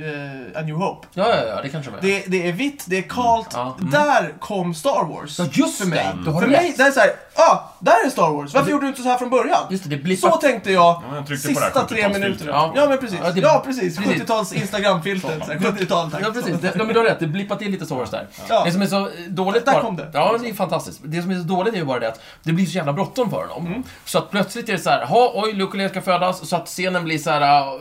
Speaker 1: eh, A New Hope.
Speaker 5: Ja, ja, ja, det kanske de är.
Speaker 1: Det, det är vitt, det är kallt.
Speaker 5: Mm. Ja. Mm.
Speaker 1: Där kom Star Wars.
Speaker 5: Ja, just
Speaker 1: för mig.
Speaker 5: det. Du har
Speaker 1: för
Speaker 5: rätt.
Speaker 1: mig, det är såhär, ah, där är Star Wars. Varför gjorde du inte så här från början?
Speaker 5: Just det, det blir
Speaker 1: Så tänkte jag,
Speaker 4: men jag tryckte på det här
Speaker 1: sista tre
Speaker 4: 70-talsfiltret.
Speaker 1: minuterna. Ja.
Speaker 5: Ja.
Speaker 1: men precis.
Speaker 5: Ja, det-
Speaker 1: Ja, precis.
Speaker 5: precis.
Speaker 1: 70-tals Instagram-filtret. så här, 70-tal, tack.
Speaker 5: Ja, precis. Det, ja, men du har rätt. Det blippar till lite Star Wars där.
Speaker 1: Ja.
Speaker 5: Det som är så eh, dåligt...
Speaker 1: Där
Speaker 5: bara-
Speaker 1: kom det.
Speaker 5: Ja, det är fantastiskt. Det som är så dåligt är ju bara det att det blir så jävla bråttom för honom.
Speaker 1: Mm.
Speaker 5: Så att plötsligt är det så här, ha, oj, Luke och Leia ska födas, så att scenen blir så här... eh,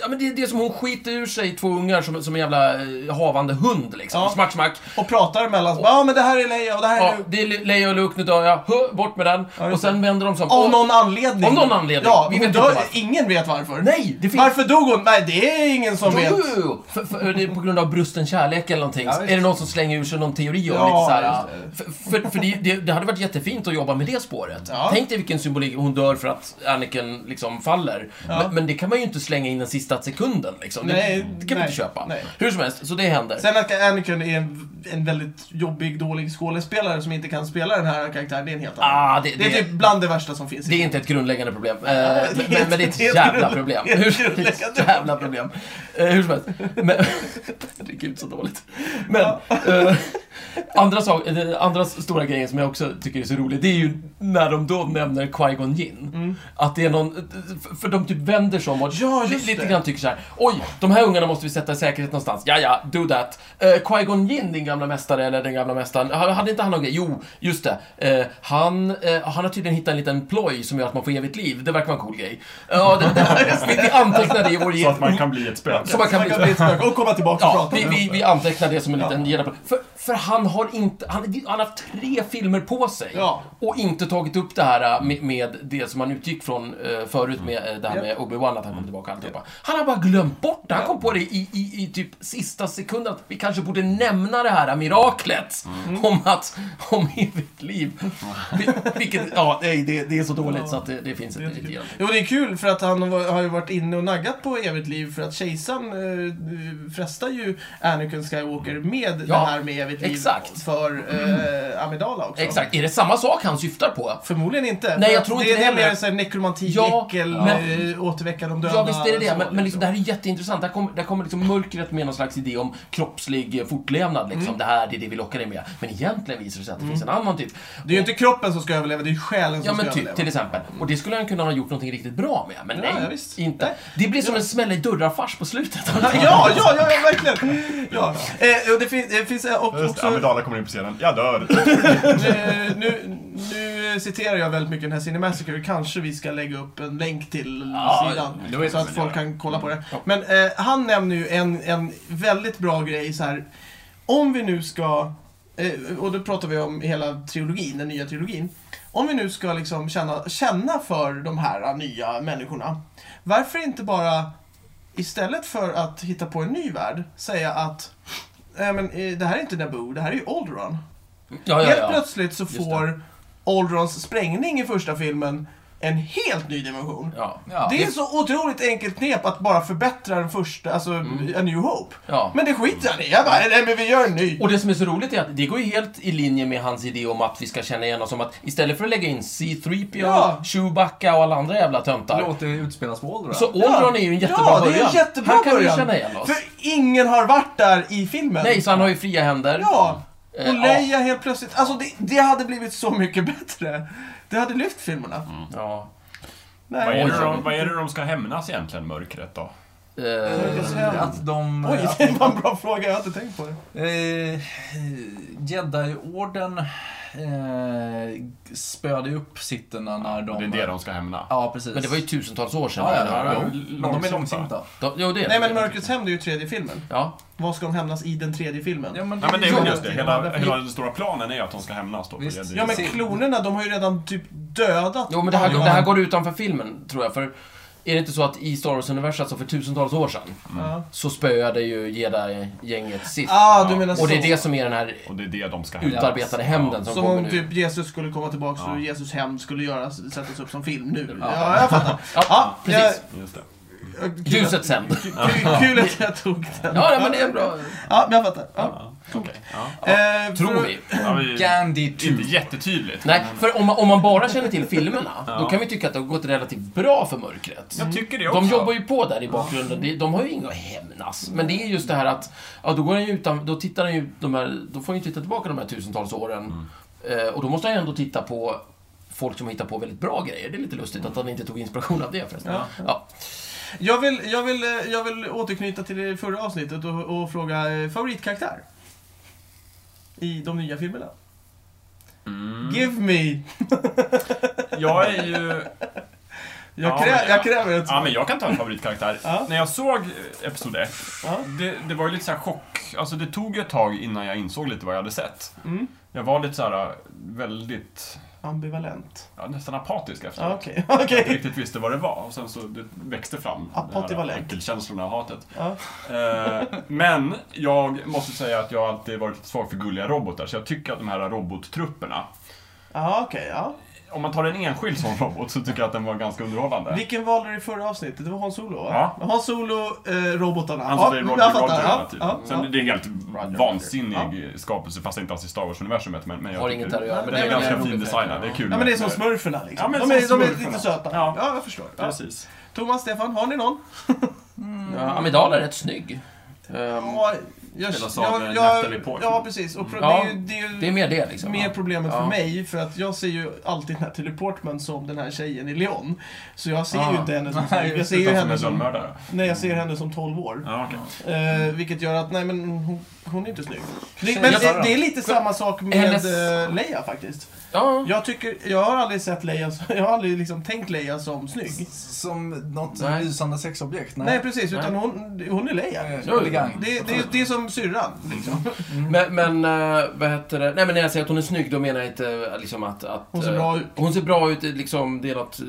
Speaker 5: Ja, men det, det är som hon skiter ur sig två ungar som, som en jävla eh, havande hund liksom.
Speaker 1: Ja.
Speaker 5: Smack, smack.
Speaker 1: Och pratar mellan sig. Ja, men det här är Leia och det här är
Speaker 5: Ja,
Speaker 1: Luke.
Speaker 5: det är Le- Leia och Luke, nu dör jag. Hö, bort med den.
Speaker 1: just
Speaker 5: och sen vänder de som...
Speaker 1: Av
Speaker 5: åh,
Speaker 1: någon anledning.
Speaker 5: Av någon anledning.
Speaker 1: Ja,
Speaker 5: Vi
Speaker 1: hon
Speaker 5: vet
Speaker 1: dör,
Speaker 5: inte varför.
Speaker 1: ingen vet varför.
Speaker 5: Nej, det finns...
Speaker 1: Varför dog hon? Nej, det är ingen som
Speaker 5: Jo,
Speaker 1: vet.
Speaker 5: jo, jo. För, för, det är på grund av brusten kärlek eller någonting.
Speaker 3: Ja,
Speaker 5: Så
Speaker 3: visst.
Speaker 5: är det någon som slänger ur sig någon teori om
Speaker 1: Ja,
Speaker 5: lite så här, För, för, för det, det, det hade varit jättefint att jobba med det spåret.
Speaker 1: Ja.
Speaker 5: Tänk dig vilken symbolik, hon dör för att Anakin liksom faller.
Speaker 1: Ja.
Speaker 5: Men, men det kan man ju inte slänga in den sista sekunden liksom.
Speaker 1: Nej,
Speaker 5: det, det kan man
Speaker 1: nej,
Speaker 5: inte köpa.
Speaker 1: nej.
Speaker 5: Hur som helst, så det händer.
Speaker 1: Sen att Anakin är en, en väldigt jobbig, dålig skådespelare som inte kan spela den här karaktären, det är en helt annan.
Speaker 5: Ah, det,
Speaker 1: det är typ bland det värsta som finns. i
Speaker 5: Det är
Speaker 1: filmen.
Speaker 5: inte ett grundläggande problem. Eh,
Speaker 1: är
Speaker 5: men,
Speaker 1: inte-
Speaker 5: men det är
Speaker 1: det är ett
Speaker 5: ett jävla
Speaker 1: grundlä-
Speaker 5: problem.
Speaker 1: det är ett
Speaker 5: Hur-
Speaker 1: grundläggande
Speaker 5: jävla problem. Eh, hur som helst. Men, det är gud så dåligt. Men eh, andra, sak, eh, andra stora grejen som jag också tycker är så rolig, det är ju när de då nämner Qui-Gon Jinn. Att det är någon, för- för de typ vänder sig om och
Speaker 1: Mm. Ja, just
Speaker 5: lite
Speaker 1: det.
Speaker 5: grann tycker så här. oj, de här ungarna måste vi sätta i säkerhet någonstans. Ja, ja, do that. Eh, Qui-Gon Jinn, din gamla mästare, eller den gamla mästaren, ha- hade inte han någon grej? Jo, just det. Eh, han, eh, han har tydligen hittat en liten ploj som gör att man får evigt liv. Det verkar vara en cool grej. Ja, det, det, vi, vi antecknar det i vår
Speaker 4: Så att man kan bli ett spöke.
Speaker 5: så man kan
Speaker 1: Man
Speaker 5: bli
Speaker 1: kan bli ett spöke och komma tillbaka och
Speaker 5: Ja,
Speaker 1: prata
Speaker 5: vi,
Speaker 1: med
Speaker 5: vi,
Speaker 1: dem.
Speaker 5: vi antecknar det som en liten ja. för, för han har inte, han, han har haft tre filmer på sig
Speaker 1: Ja.
Speaker 5: och inte tagit upp det här äh, med, med det som man utgick från eh, förut med eh, det här
Speaker 1: Ja.
Speaker 5: med Obi-Wan, att han kom tillbaka och alltihopa. Han har bara glömt bort det. Han kom på det i, i, i typ sista sekunden att vi kanske borde nämna det här miraklet om att, om evigt liv. Vi, vilket, ja, nej, det, det är så dåligt så att det, det finns inte riktigt.
Speaker 1: Jo, det är kul för att han har har ju varit inne och naggat på evigt liv för att kejsaren eh, frestar ju Anakin Skywalker med
Speaker 5: Ja,
Speaker 1: det här med evigt liv
Speaker 5: exakt.
Speaker 1: för eh, Amidala också.
Speaker 5: Exakt, är det samma sak han syftar på?
Speaker 1: Förmodligen inte.
Speaker 5: Nej,
Speaker 1: för
Speaker 5: jag
Speaker 1: att
Speaker 5: tror
Speaker 1: det,
Speaker 5: inte det
Speaker 1: det är mer
Speaker 5: heller.
Speaker 1: såhär nekromanti,
Speaker 5: Ja,
Speaker 1: äckel,
Speaker 5: men-
Speaker 1: eh, återväcka de döda.
Speaker 5: Ja, visst är det det.
Speaker 1: så,
Speaker 5: Men, men liksom, det här är jätteintressant. Där kommer, där kommer liksom mörkret med någon slags idé om kroppslig eh, fortlevnad. Liksom.
Speaker 1: Mm.
Speaker 5: Det här det är det vi lockar dig med. Men egentligen visar det sig att det finns en annan typ.
Speaker 1: Det är ju inte kroppen som ska överleva, det är ju själen
Speaker 5: Ja
Speaker 1: som
Speaker 5: men
Speaker 1: ska
Speaker 5: typ,
Speaker 1: överleva.
Speaker 5: till exempel. Och det skulle han kunna ha gjort någonting riktigt bra med. Men
Speaker 1: Ja,
Speaker 5: nej,
Speaker 1: ja, visst.
Speaker 5: inte.
Speaker 1: Nej.
Speaker 5: Det blir som en smäll i dörrar-fars på slutet.
Speaker 1: Ja, ja, ja, ja, verkligen! Ja. Eh, och det, fin- det finns eh, och,
Speaker 4: Just det,
Speaker 1: också...
Speaker 4: Amidala kommer in på scenen. Jag dör.
Speaker 1: Eh, nu, nu citerar jag väldigt mycket den här Cinemassacre. Kanske vi ska lägga upp en länk till
Speaker 5: Ja,
Speaker 4: det vet
Speaker 1: sidan. Så
Speaker 4: jag
Speaker 1: att
Speaker 4: väl
Speaker 1: folk
Speaker 4: göra.
Speaker 1: kan kolla på det. Men eh, han nämner ju en, en väldigt bra grej så här. Om vi nu ska, eh, och då pratar vi om hela trilogin, den nya trilogin. Om vi nu ska liksom känna, känna för de här eh, nya människorna. Varför inte bara istället för att hitta på en ny värld säga att Nej, men, eh, det här är inte Naboo, det här är ju Alderaan.
Speaker 5: ja, ja,
Speaker 1: Helt
Speaker 5: ja.
Speaker 1: plötsligt så
Speaker 5: det.
Speaker 1: får Aldrons sprängning i första filmen en helt ny dimension.
Speaker 5: ja.
Speaker 3: Ja,
Speaker 1: det är så otroligt enkelt knep att bara förbättra den första, alltså A New Hope.
Speaker 5: Mm. Ja.
Speaker 1: Men det skiter han i. Jag bara, nej men vi gör en ny.
Speaker 5: Och det som är så roligt är att det går ju helt i linje med hans idé om att vi ska känna igen oss som att istället för att lägga in C3PO,
Speaker 1: Ja.
Speaker 5: Chewbacca och alla andra jävla töntar.
Speaker 3: Låt det utspelas på åldrarna.
Speaker 5: Så Aldron är ju en jättebra
Speaker 1: ja,
Speaker 5: början.
Speaker 1: det är en jättebra
Speaker 5: Han kan
Speaker 1: början.
Speaker 5: vi känna igen oss.
Speaker 1: För ingen har varit där i filmen.
Speaker 5: Nej, så han har ju fria händer.
Speaker 1: Ja.
Speaker 5: Eh,
Speaker 1: Och Leia helt plötsligt. Alltså det, det hade blivit så mycket bättre. Det hade lyft filmerna.
Speaker 5: Ja.
Speaker 4: Vad
Speaker 1: Nej.
Speaker 4: är, det de, vad är det de ska hämnas egentligen, mörkret då?
Speaker 5: Eh,
Speaker 3: Att de...
Speaker 1: Oj, det var en bra fråga. Jag har inte tänkt på det.
Speaker 3: Eh, Jedi-orden eh, spöade ju upp sitterna när de...
Speaker 4: Det är det de ska hämna.
Speaker 3: Ja, precis.
Speaker 5: men det var ju tusentals år sedan.
Speaker 3: Ja, ja, ja,
Speaker 4: Jo,
Speaker 3: ja. Men de är
Speaker 4: långsinta.
Speaker 3: långsinta.
Speaker 5: De, jo, det är
Speaker 1: Nej
Speaker 5: det.
Speaker 1: men Mörkrets Hämnd är ju tredje filmen.
Speaker 5: Ja.
Speaker 1: Vad ska de hämnas i den tredje filmen?
Speaker 3: Ja, men,
Speaker 4: Nej men det är väl
Speaker 3: Ja,
Speaker 4: just det. Hela, hela den stora planen är att de ska hämnas då. på
Speaker 3: Visst.
Speaker 4: Jedi.
Speaker 1: Ja men
Speaker 3: Se-
Speaker 1: klonerna, de har ju redan typ dödat
Speaker 5: Jo, men det här,
Speaker 1: alla.
Speaker 5: det här går utanför filmen, tror jag. För är det inte så att i Star Wars-universum, alltså för tusentals år sedan,
Speaker 1: Ja.
Speaker 5: så spöade ju jedi-gänget Sith.
Speaker 1: Ah, du
Speaker 4: Ja.
Speaker 1: menar så.
Speaker 5: och det är det som är den här
Speaker 4: Och det är det de ska hämna.
Speaker 5: utarbetade hämnden som,
Speaker 1: Som
Speaker 5: kommer
Speaker 1: om
Speaker 5: nu.
Speaker 1: typ Jesus skulle komma tillbaka
Speaker 4: Ja.
Speaker 1: och Jesus hem skulle göras, sättas upp som film nu. Ja,
Speaker 5: Ja.
Speaker 1: jag fattar.
Speaker 5: Ja,
Speaker 1: Ja,
Speaker 5: precis.
Speaker 4: Just det.
Speaker 1: Kul
Speaker 5: Ljuset
Speaker 1: att-
Speaker 5: sen.
Speaker 1: kul- Kul att jag tog den.
Speaker 5: Ja, nej, men det är bra.
Speaker 1: Ja, men jag fattar. Ja.
Speaker 4: Ja, okej. Ja.
Speaker 1: Eh,
Speaker 5: Tror
Speaker 1: för-
Speaker 5: vi.
Speaker 4: Ja, vi-
Speaker 3: Gandhi
Speaker 4: det är Inte jättetydligt.
Speaker 5: Nej, för om man, om man bara känner till filmerna, då kan vi tycka att det har gått relativt bra för mörkret.
Speaker 4: Jag tycker det också.
Speaker 5: De jobbar ju på där i bakgrunden. De, de har ju inget att hämnas. Men det är just det här att, ja, då går han ju utan, då tittar han ju, de här, då får han ju titta tillbaka de här tusentals åren. Eh, och då måste han ju ändå titta på folk som har hittat på väldigt bra grejer. Det är lite lustigt att han inte tog inspiration av det förresten. Ja.
Speaker 1: Jag vill, jag, vill, eh, jag vill återknyta till det förra avsnittet och, och fråga eh, favoritkaraktär. I de nya filmerna.
Speaker 5: Mm.
Speaker 1: Give me!
Speaker 4: Jag är ju...
Speaker 1: Jag,
Speaker 4: Ja,
Speaker 1: krä,
Speaker 4: men-
Speaker 1: jag kräver ett
Speaker 4: Ja, men jag kan ta en favoritkaraktär.
Speaker 1: Ja.
Speaker 4: När jag såg eh, Episod 1,
Speaker 1: Ja.
Speaker 4: det, det var ju lite så här chock. Alltså det tog ju ett tag innan jag insåg lite vad jag hade sett.
Speaker 1: Mm.
Speaker 4: Jag var lite så här eh, väldigt,
Speaker 1: Ambivalent.
Speaker 4: ja, nästan apatisk
Speaker 1: Ja,
Speaker 4: efteråt.
Speaker 1: Okej,
Speaker 4: Jag inte
Speaker 1: okej.
Speaker 4: riktigt visste vad det var och sen så det växte fram.
Speaker 1: Apativalent.
Speaker 4: Äckelkänslorna och hatet.
Speaker 1: Ja.
Speaker 4: Eh, men jag måste säga att jag alltid varit lite svag för gulliga robotar så jag tycker att de här robottrupperna
Speaker 1: Ja, okej. Ja.
Speaker 4: om man tar en enskild sån robot så tycker jag att den var ganska underhållande.
Speaker 1: Vilken valde du i förra avsnittet? Det var Hans Solo, va?
Speaker 4: Ja.
Speaker 1: Hans Solo, eh, robotarna.
Speaker 4: Han
Speaker 1: ja,
Speaker 4: säger
Speaker 1: jag
Speaker 4: Roger Roger
Speaker 1: fattar.
Speaker 4: hela
Speaker 1: Ja,
Speaker 4: tiden.
Speaker 1: ja,
Speaker 4: typ. Sen
Speaker 1: ja.
Speaker 4: det är helt vansinnig
Speaker 1: Ja.
Speaker 4: skapelse, fast inte alls i Star Wars-universumet. Men, men jag
Speaker 5: Har
Speaker 4: tycker-
Speaker 5: inget här att göra.
Speaker 4: Den
Speaker 5: Men
Speaker 4: är,
Speaker 5: det
Speaker 4: ganska
Speaker 5: en rolig
Speaker 4: fin designad,
Speaker 5: film.
Speaker 4: det är kul.
Speaker 1: Ja, men det är som
Speaker 4: med-
Speaker 1: smurferna liksom.
Speaker 4: Ja, men
Speaker 1: de,
Speaker 4: som
Speaker 1: är, de är
Speaker 4: smurferna.
Speaker 1: lite söta.
Speaker 4: Ja.
Speaker 1: Ja, jag förstår. Ja.
Speaker 4: Precis.
Speaker 1: Thomas, Stefan, har ni någon?
Speaker 5: Ja, Amidala är rätt snygg. Ehm,
Speaker 1: Ja, jag,
Speaker 4: Spelas av, eh, Natalie Portman. Mm.
Speaker 1: Ja, precis. Och pro-
Speaker 5: Ja,
Speaker 1: det är ju, det är ju
Speaker 5: det är mer det liksom.
Speaker 1: mer
Speaker 5: Ja.
Speaker 1: problemet för
Speaker 5: Ja.
Speaker 1: mig, för att jag ser ju alltid Natalie Portman som den här tjejen i Leon. Så jag ser
Speaker 3: Ah.
Speaker 1: ju inte henne som
Speaker 3: Nej,
Speaker 1: Jag
Speaker 4: Just
Speaker 1: ser ju
Speaker 4: utan som
Speaker 1: henne
Speaker 4: en
Speaker 1: som,
Speaker 4: lönnmördare.
Speaker 1: nej, jag ser henne som 12 år.
Speaker 4: Ja, okej.
Speaker 1: Eh, vilket gör att, nej men hon, hon är inte snygg. Det,
Speaker 3: Tjejer
Speaker 1: men
Speaker 5: gör
Speaker 1: det,
Speaker 3: det.
Speaker 1: det är lite samma sak med
Speaker 5: Hennes-
Speaker 1: eh, Leia faktiskt.
Speaker 5: Ja.
Speaker 1: Jag, tycker, jag har aldrig sett Leia, som- jag har aldrig liksom tänkt Leia som snygg.
Speaker 3: Som något
Speaker 5: Nej.
Speaker 3: lysande sexobjekt?
Speaker 1: Nej, precis, utan hon, hon är Leia.
Speaker 3: Eh, Elegant.
Speaker 1: Det, det, det är som syrran, liksom.
Speaker 5: Men, men eh, vad heter det? Nej, men när jag säger att hon är snygg, då menar jag inte eh, liksom att... att
Speaker 1: Hon ser
Speaker 5: eh,
Speaker 1: bra ut.
Speaker 5: Hon ser bra ut, eh, liksom, det är något, eh,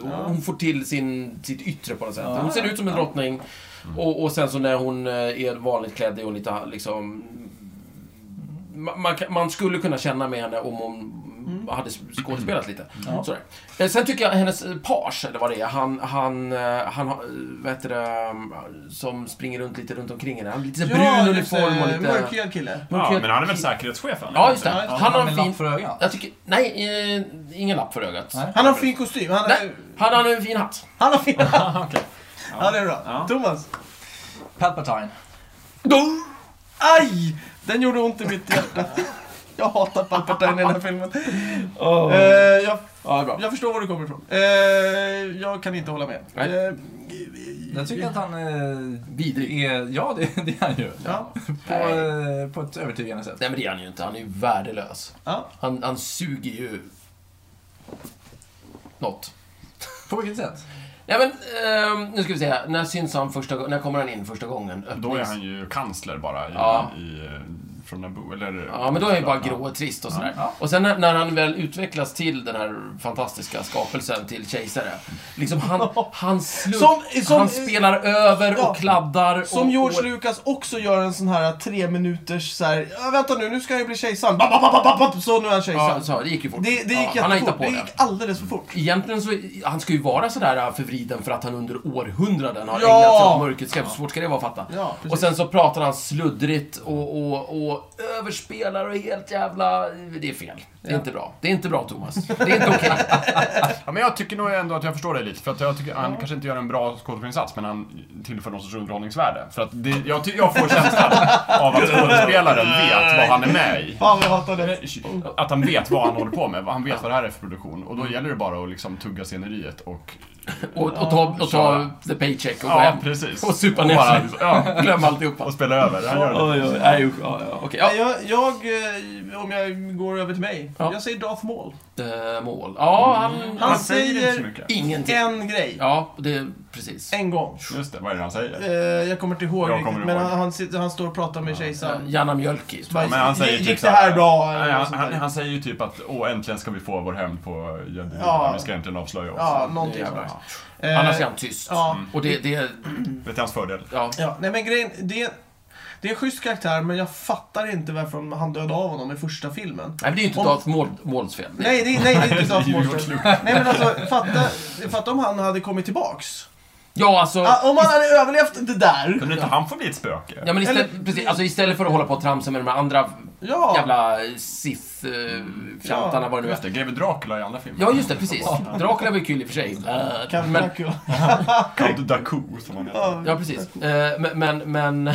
Speaker 5: hon-
Speaker 1: Ja.
Speaker 5: Hon får till sin, sitt yttre på något sätt.
Speaker 3: Ja.
Speaker 5: Hon ser ut som en drottning. Och, och sen så när hon eh, är vanligt klädd är hon lite liksom... ma- Man, kan- man skulle kunna känna med henne om hon hade skådespelat lite.
Speaker 3: Ja.
Speaker 5: Sådär. Eh, Sen tycker jag hennes eh, page, eller vad det är, han, han, eh, han har, eh, vad heter det, eh, som springer runt lite runt omkring henne. Han har lite brun
Speaker 1: just,
Speaker 5: uniform och
Speaker 1: eh,
Speaker 5: lite...
Speaker 1: Mörkhyad kille.
Speaker 4: Ja, men han är väl säkerhetschefen?
Speaker 5: Ja, just det.
Speaker 1: Ja,
Speaker 5: Han har
Speaker 3: med
Speaker 5: en
Speaker 3: lapp
Speaker 5: fin...
Speaker 3: för ögat.
Speaker 5: Jag tycker... Nej, eh, ingen lapp för ögat.
Speaker 3: Nej.
Speaker 1: Han har fin kostym. Han,
Speaker 5: Nej,
Speaker 1: är,
Speaker 5: han har en fin hatt.
Speaker 1: han har fin... ja,
Speaker 4: Ah, okej.
Speaker 1: det är bra.
Speaker 4: Ja.
Speaker 1: Thomas.
Speaker 3: Palpatine.
Speaker 1: Aj! Den gjorde ont i mitt hjärta. Jag hatar Palpatine i den här filmen. Eh, jag,
Speaker 5: Ja, det är bra.
Speaker 1: jag förstår var du kommer ifrån. Eh, jag kan inte hålla med.
Speaker 5: Nej.
Speaker 1: Eh,
Speaker 3: Jag tycker att han eh,
Speaker 5: Vidrig.
Speaker 3: är... Ja, det, det är han ju.
Speaker 1: Ja,
Speaker 3: På, eh, på ett övertygande sätt.
Speaker 5: Nej, men det är han ju inte. Han är ju värdelös.
Speaker 1: ja.
Speaker 5: Han, han suger ju... Något.
Speaker 3: På vilket sätt?
Speaker 5: Nej, men ehm, nu ska vi se. När syns han första gången? När kommer han in första gången?
Speaker 4: Då är
Speaker 5: Öppnings-
Speaker 4: han ju kansler bara i,
Speaker 5: Ja.
Speaker 4: i, eh, från Naboo, eller...
Speaker 5: Ja, men då är han ju bara grå och trist och sådär. Och sen när, när han väl utvecklas till den här fantastiska skapelsen till kejsare. Liksom han, han, slump,
Speaker 1: Som- som-
Speaker 5: han spelar över
Speaker 1: Ja.
Speaker 5: och kladdar.
Speaker 1: Som
Speaker 5: och,
Speaker 1: George
Speaker 5: och,
Speaker 1: Lucas också gör en sån här eh, tre minuters så här, "Ja, vänta nu, nu ska jag bli kejsaren. Bap, bap, bap, bap, bap, så nu är han
Speaker 5: Ja,
Speaker 1: kejsaren.
Speaker 5: så, det gick ju fort.
Speaker 1: Det, det gick
Speaker 5: ja, han har
Speaker 1: jättefort.
Speaker 5: hittat på
Speaker 1: Det
Speaker 5: det.
Speaker 1: gick alldeles för fort.
Speaker 5: Egentligen så, han ska ju vara sådär äh, förvriden för att han under århundraden har
Speaker 1: Ja!
Speaker 5: ägnat sig åt mörkret. Ska- Så svårt ska det vara att fatta.
Speaker 1: Ja, precis.
Speaker 5: och sen så pratar han sluddrigt och, och, och överspelar och är helt jävla... Det är fel. Det är inte bra. Det är inte bra, Thomas. Det är inte okej.
Speaker 4: Ja, men jag tycker nog ändå att jag förstår dig lite, för att jag tycker han kanske inte gör en bra skådespelarinsats, men han tillför någon sorts underhållningsvärde. För att det, jag, ty- jag får känslan av att skådespelaren vet vad han är med i.
Speaker 1: Fan vad jag hatar det.
Speaker 4: Att han vet vad han håller på med, han vet vad det här är för produktion. Och då gäller det bara att liksom tugga sceneriet och...
Speaker 5: Mm. Och, och ta, och ta the paycheck och gå
Speaker 4: Ja,
Speaker 5: hem.
Speaker 4: precis.
Speaker 5: Och supa
Speaker 4: Och
Speaker 5: ner
Speaker 4: bara-
Speaker 5: sig.
Speaker 4: liksom, ja.
Speaker 5: Glöm alltihopa.
Speaker 4: Och spela över. Han gör det.
Speaker 5: Oj, oj, nej, usch, ja, ja, okej. Ja.
Speaker 1: Jag, jag, eh, om jag går över till mig.
Speaker 5: Ja.
Speaker 1: Jag säger Darth Maul.
Speaker 5: Eh, mål. Ja, han...
Speaker 1: Han
Speaker 4: Han säger inte så
Speaker 1: säger
Speaker 4: mycket.
Speaker 5: Ingenting.
Speaker 1: Mm. en grej.
Speaker 5: Ja, det... Precis.
Speaker 1: En gång.
Speaker 4: Just det, vad är det han säger?
Speaker 1: Eh, jag kommer inte ihåg
Speaker 4: Jag
Speaker 1: riktigt,
Speaker 4: kommer
Speaker 1: men
Speaker 4: ihåg.
Speaker 1: han, han, sitter, han står och pratar med kejsaren.
Speaker 5: Janna Mjölki. tror jag.
Speaker 4: Men han säger
Speaker 1: Gick
Speaker 4: typ
Speaker 1: det här
Speaker 4: så
Speaker 1: bra? Eller
Speaker 4: Nej,
Speaker 1: något
Speaker 4: han,
Speaker 1: sånt
Speaker 4: han,
Speaker 1: där.
Speaker 4: han säger ju typ att åh, äntligen ska vi få vår hämnd på Jedi.
Speaker 1: Ja.
Speaker 4: Vi ska äntligen avslöja oss.
Speaker 1: Ja, någonting
Speaker 5: Det är
Speaker 1: sånt.
Speaker 5: bra.
Speaker 1: Eh,
Speaker 5: Annars är han tyst.
Speaker 1: ja.
Speaker 5: Och det... det
Speaker 4: Det är till hans fördel.
Speaker 5: ja.
Speaker 1: ja, nej men grejen, det, det är en schysst karaktär, men jag fattar inte varför han dödade av honom i första filmen.
Speaker 5: Nej, men det är ju inte
Speaker 1: Om-
Speaker 5: Darth Maul, Mauls fel. Det-
Speaker 1: Nej, det, nej, det är inte Darth
Speaker 4: Det är ju
Speaker 1: Maul. Nej, men alltså, fatta, fatta om han hade kommit tillbaks.
Speaker 5: Ja, alltså...
Speaker 1: Ah, om man hade överlevt det där.
Speaker 4: Kunde inte han få bli ett spöke?
Speaker 5: Ja, men istället,
Speaker 1: Eller-
Speaker 5: precis, alltså istället för att hålla på och tramsa med de här andra
Speaker 1: Ja.
Speaker 5: jävla Sith-fjantarna,
Speaker 1: Ja.
Speaker 5: vad det nu
Speaker 4: Just
Speaker 5: är.
Speaker 4: det, greve Dracula i alla filmer.
Speaker 5: Ja, just det, precis. Dracula var ju kul i och för sig. Eh,
Speaker 1: Kan
Speaker 5: Men,
Speaker 1: Dracula.
Speaker 4: Count Dooku som han heter.
Speaker 5: ja, precis. Eh, Men, men... men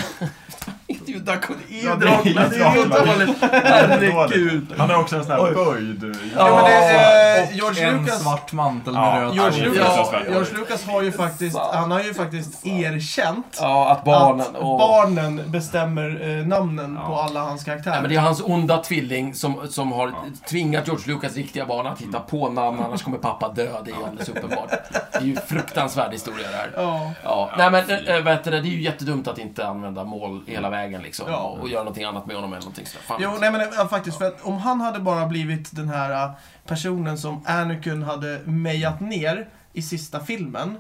Speaker 5: inte ju Dracula, det är ju
Speaker 4: Ja,
Speaker 5: Dracula.
Speaker 4: det är ju
Speaker 5: Det är ju
Speaker 4: Dracula.
Speaker 5: dåligt.
Speaker 1: Herregud.
Speaker 4: Han har också en sån här
Speaker 3: Oj.
Speaker 4: böjd...
Speaker 1: Ja, men det är, eh,
Speaker 3: och
Speaker 1: George
Speaker 3: en
Speaker 1: Lucas-
Speaker 3: svart mantel med
Speaker 4: Ja,
Speaker 3: röd
Speaker 1: George
Speaker 4: Ja,
Speaker 3: tand.
Speaker 4: det är
Speaker 1: Lucas,
Speaker 4: fruktansvärt.
Speaker 1: George Lucas har ju faktiskt, han har ju faktiskt erkänt
Speaker 5: Ja, att
Speaker 1: att
Speaker 5: barnen... åh.
Speaker 1: barnen bestämmer eh, namnen
Speaker 4: Ja.
Speaker 1: på alla hans
Speaker 5: Nej, men det
Speaker 1: karaktärer.
Speaker 5: är hans onda tvilling som, som har
Speaker 4: Ja.
Speaker 5: tvingat George Lucas riktiga barn att hitta på namn, annars kommer pappa dö. Det är ju alldeles uppenbart. Det är ju fruktansvärd historia det här.
Speaker 1: Ja. Mm.
Speaker 5: Ja, nej men äh, vet du, det, det är ju jättedumt att inte använda mål hela vägen liksom.
Speaker 1: Ja.
Speaker 5: Och, och göra någonting annat med honom eller någonting sådär. Fan. liksom.
Speaker 1: Jo, nej men eh, faktiskt, för att om han hade bara blivit den här eh, personen som Anakin hade mejat ner i sista filmen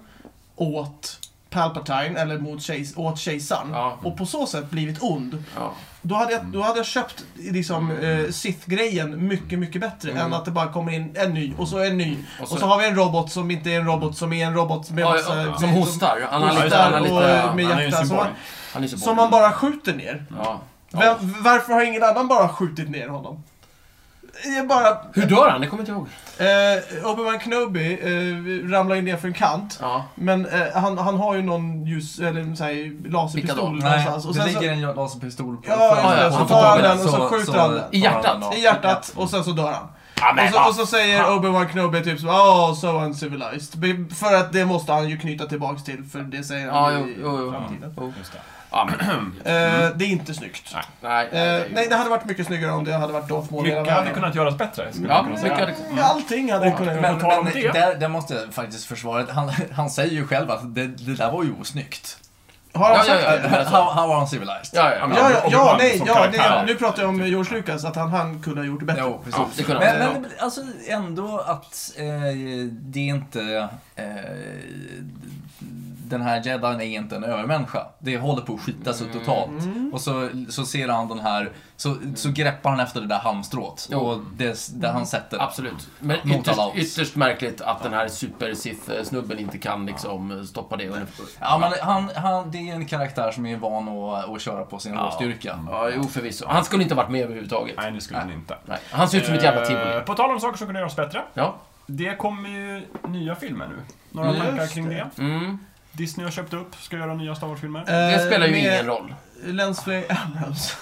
Speaker 1: åt Palpatine, eller mot kejs- åt kejsaren,
Speaker 5: Ja.
Speaker 1: och på så sätt blivit ond.
Speaker 5: Ja.
Speaker 1: Då hade jag, då hade jag köpt liksom, eh, Sith-grejen mycket, mycket bättre än att det bara kommer in en ny och så en ny. Och
Speaker 5: Mm. Och
Speaker 1: så,
Speaker 5: så-
Speaker 1: har vi en robot som inte är en robot som är en robot med
Speaker 5: Ja,
Speaker 1: massa-
Speaker 5: ja, som hostar. Han har lite... Han
Speaker 1: hostar
Speaker 5: har
Speaker 1: och eh,
Speaker 5: lite...
Speaker 1: med
Speaker 4: Han är
Speaker 1: hjärta.
Speaker 4: ju en
Speaker 1: Som
Speaker 4: symbol.
Speaker 1: man,
Speaker 5: Han är så
Speaker 1: som man bara skjuter ner.
Speaker 5: Ja.
Speaker 1: Vem,
Speaker 5: Ja.
Speaker 1: varför har ingen annan bara skjutit ner honom? Det är bara...
Speaker 5: Hur dör han? Det kommer jag inte ihåg.
Speaker 1: Eh, Obi-Wan Kenobi eh, ramlar ju ner för en kant.
Speaker 5: Ja.
Speaker 1: Men eh, han, han har ju någon ljus, eller en sån här laserpistol
Speaker 5: Pickador.
Speaker 3: Nej,
Speaker 1: någonstans. Och
Speaker 3: det
Speaker 1: sen så,
Speaker 3: ligger en laserpistol på
Speaker 1: Ja, just
Speaker 5: det.
Speaker 3: fönstret.
Speaker 5: Så tar han
Speaker 1: den och så skjuter han den.
Speaker 5: I hjärtat.
Speaker 3: tar han den
Speaker 1: I
Speaker 3: av.
Speaker 1: hjärtat och sen så dör han.
Speaker 5: Ja, men
Speaker 1: Och så,
Speaker 5: va
Speaker 1: och så säger Obi-Wan Kenobi typ så oh, so uncivilized. Be- För att det måste han ju knyta tillbaks till, för det säger han
Speaker 5: Ja,
Speaker 1: i
Speaker 5: jo, jo, jo.
Speaker 1: framtiden.
Speaker 5: Jo.
Speaker 4: Just det.
Speaker 5: Ja, men...
Speaker 1: Eh, det är inte snyggt.
Speaker 4: Nej.
Speaker 5: Nej,
Speaker 1: Eh,
Speaker 5: nej,
Speaker 1: nej,
Speaker 5: nej.
Speaker 1: det hade varit mycket snyggare om det hade varit Darth Maul hela
Speaker 4: Mycket hade
Speaker 1: vägen.
Speaker 4: kunnat göras bättre, skulle
Speaker 5: Ja,
Speaker 4: man kunna
Speaker 5: mycket
Speaker 4: säga.
Speaker 5: hade...
Speaker 1: Allting hade kunnat göras
Speaker 4: Men
Speaker 3: Men,
Speaker 4: på tal om
Speaker 3: men
Speaker 4: det-
Speaker 3: där, där måste jag faktiskt försvara det. han, han säger ju själv att det, det där var ju osnyggt.
Speaker 1: Har han
Speaker 5: Ja,
Speaker 1: sagt
Speaker 5: ja, ja.
Speaker 1: det?
Speaker 5: Men alltså-
Speaker 3: How, how uncivilized.
Speaker 5: Ja, ja,
Speaker 1: Ja, ja,
Speaker 4: Obi-Wan
Speaker 1: ja,
Speaker 4: som
Speaker 1: nej, ja,
Speaker 4: karaktär.
Speaker 1: nej, nu pratar jag om George Lucas, att han, han kunde ha gjort det bättre.
Speaker 3: Jo, precis.
Speaker 5: Ja, det kunde han
Speaker 3: men,
Speaker 5: väl,
Speaker 3: men det blir- alltså ändå att eh, det är inte... Eh, den här jedin är inte en övermänniska. Det håller på att skita sig
Speaker 5: Mm.
Speaker 3: totalt. Och så, så ser han den här, så, så greppar han efter det där halmstrået.
Speaker 5: Mm. Jo.
Speaker 3: Och det, där han sätter.
Speaker 5: Absolut. Men
Speaker 3: Mot
Speaker 5: ytterst,
Speaker 3: alla odds.
Speaker 5: ytterst märkligt att den här super-Sith-snubben inte kan liksom stoppa det.
Speaker 3: Ja, men han, han, det är en karaktär som är van att, att köra på sin
Speaker 5: Ja.
Speaker 3: råstyrka.
Speaker 5: Ja, jo förvisso. Han skulle inte varit med överhuvudtaget.
Speaker 4: Nej, det skulle den inte.
Speaker 5: Nej. Han ser ut som ett jävla
Speaker 4: Eh,
Speaker 5: tivoli.
Speaker 4: På tal om saker som kunde göras bättre.
Speaker 5: Ja.
Speaker 4: Det kommer ju nya filmer nu. Några
Speaker 1: Mm.
Speaker 4: tankar
Speaker 1: Just
Speaker 4: kring
Speaker 1: det.
Speaker 4: det?
Speaker 5: Mm.
Speaker 4: Disney har köpt upp, ska göra nya Star Wars-filmer.
Speaker 5: Det
Speaker 1: Eh,
Speaker 5: spelar ju
Speaker 1: med
Speaker 5: ingen roll.
Speaker 1: Lensflay Abrams.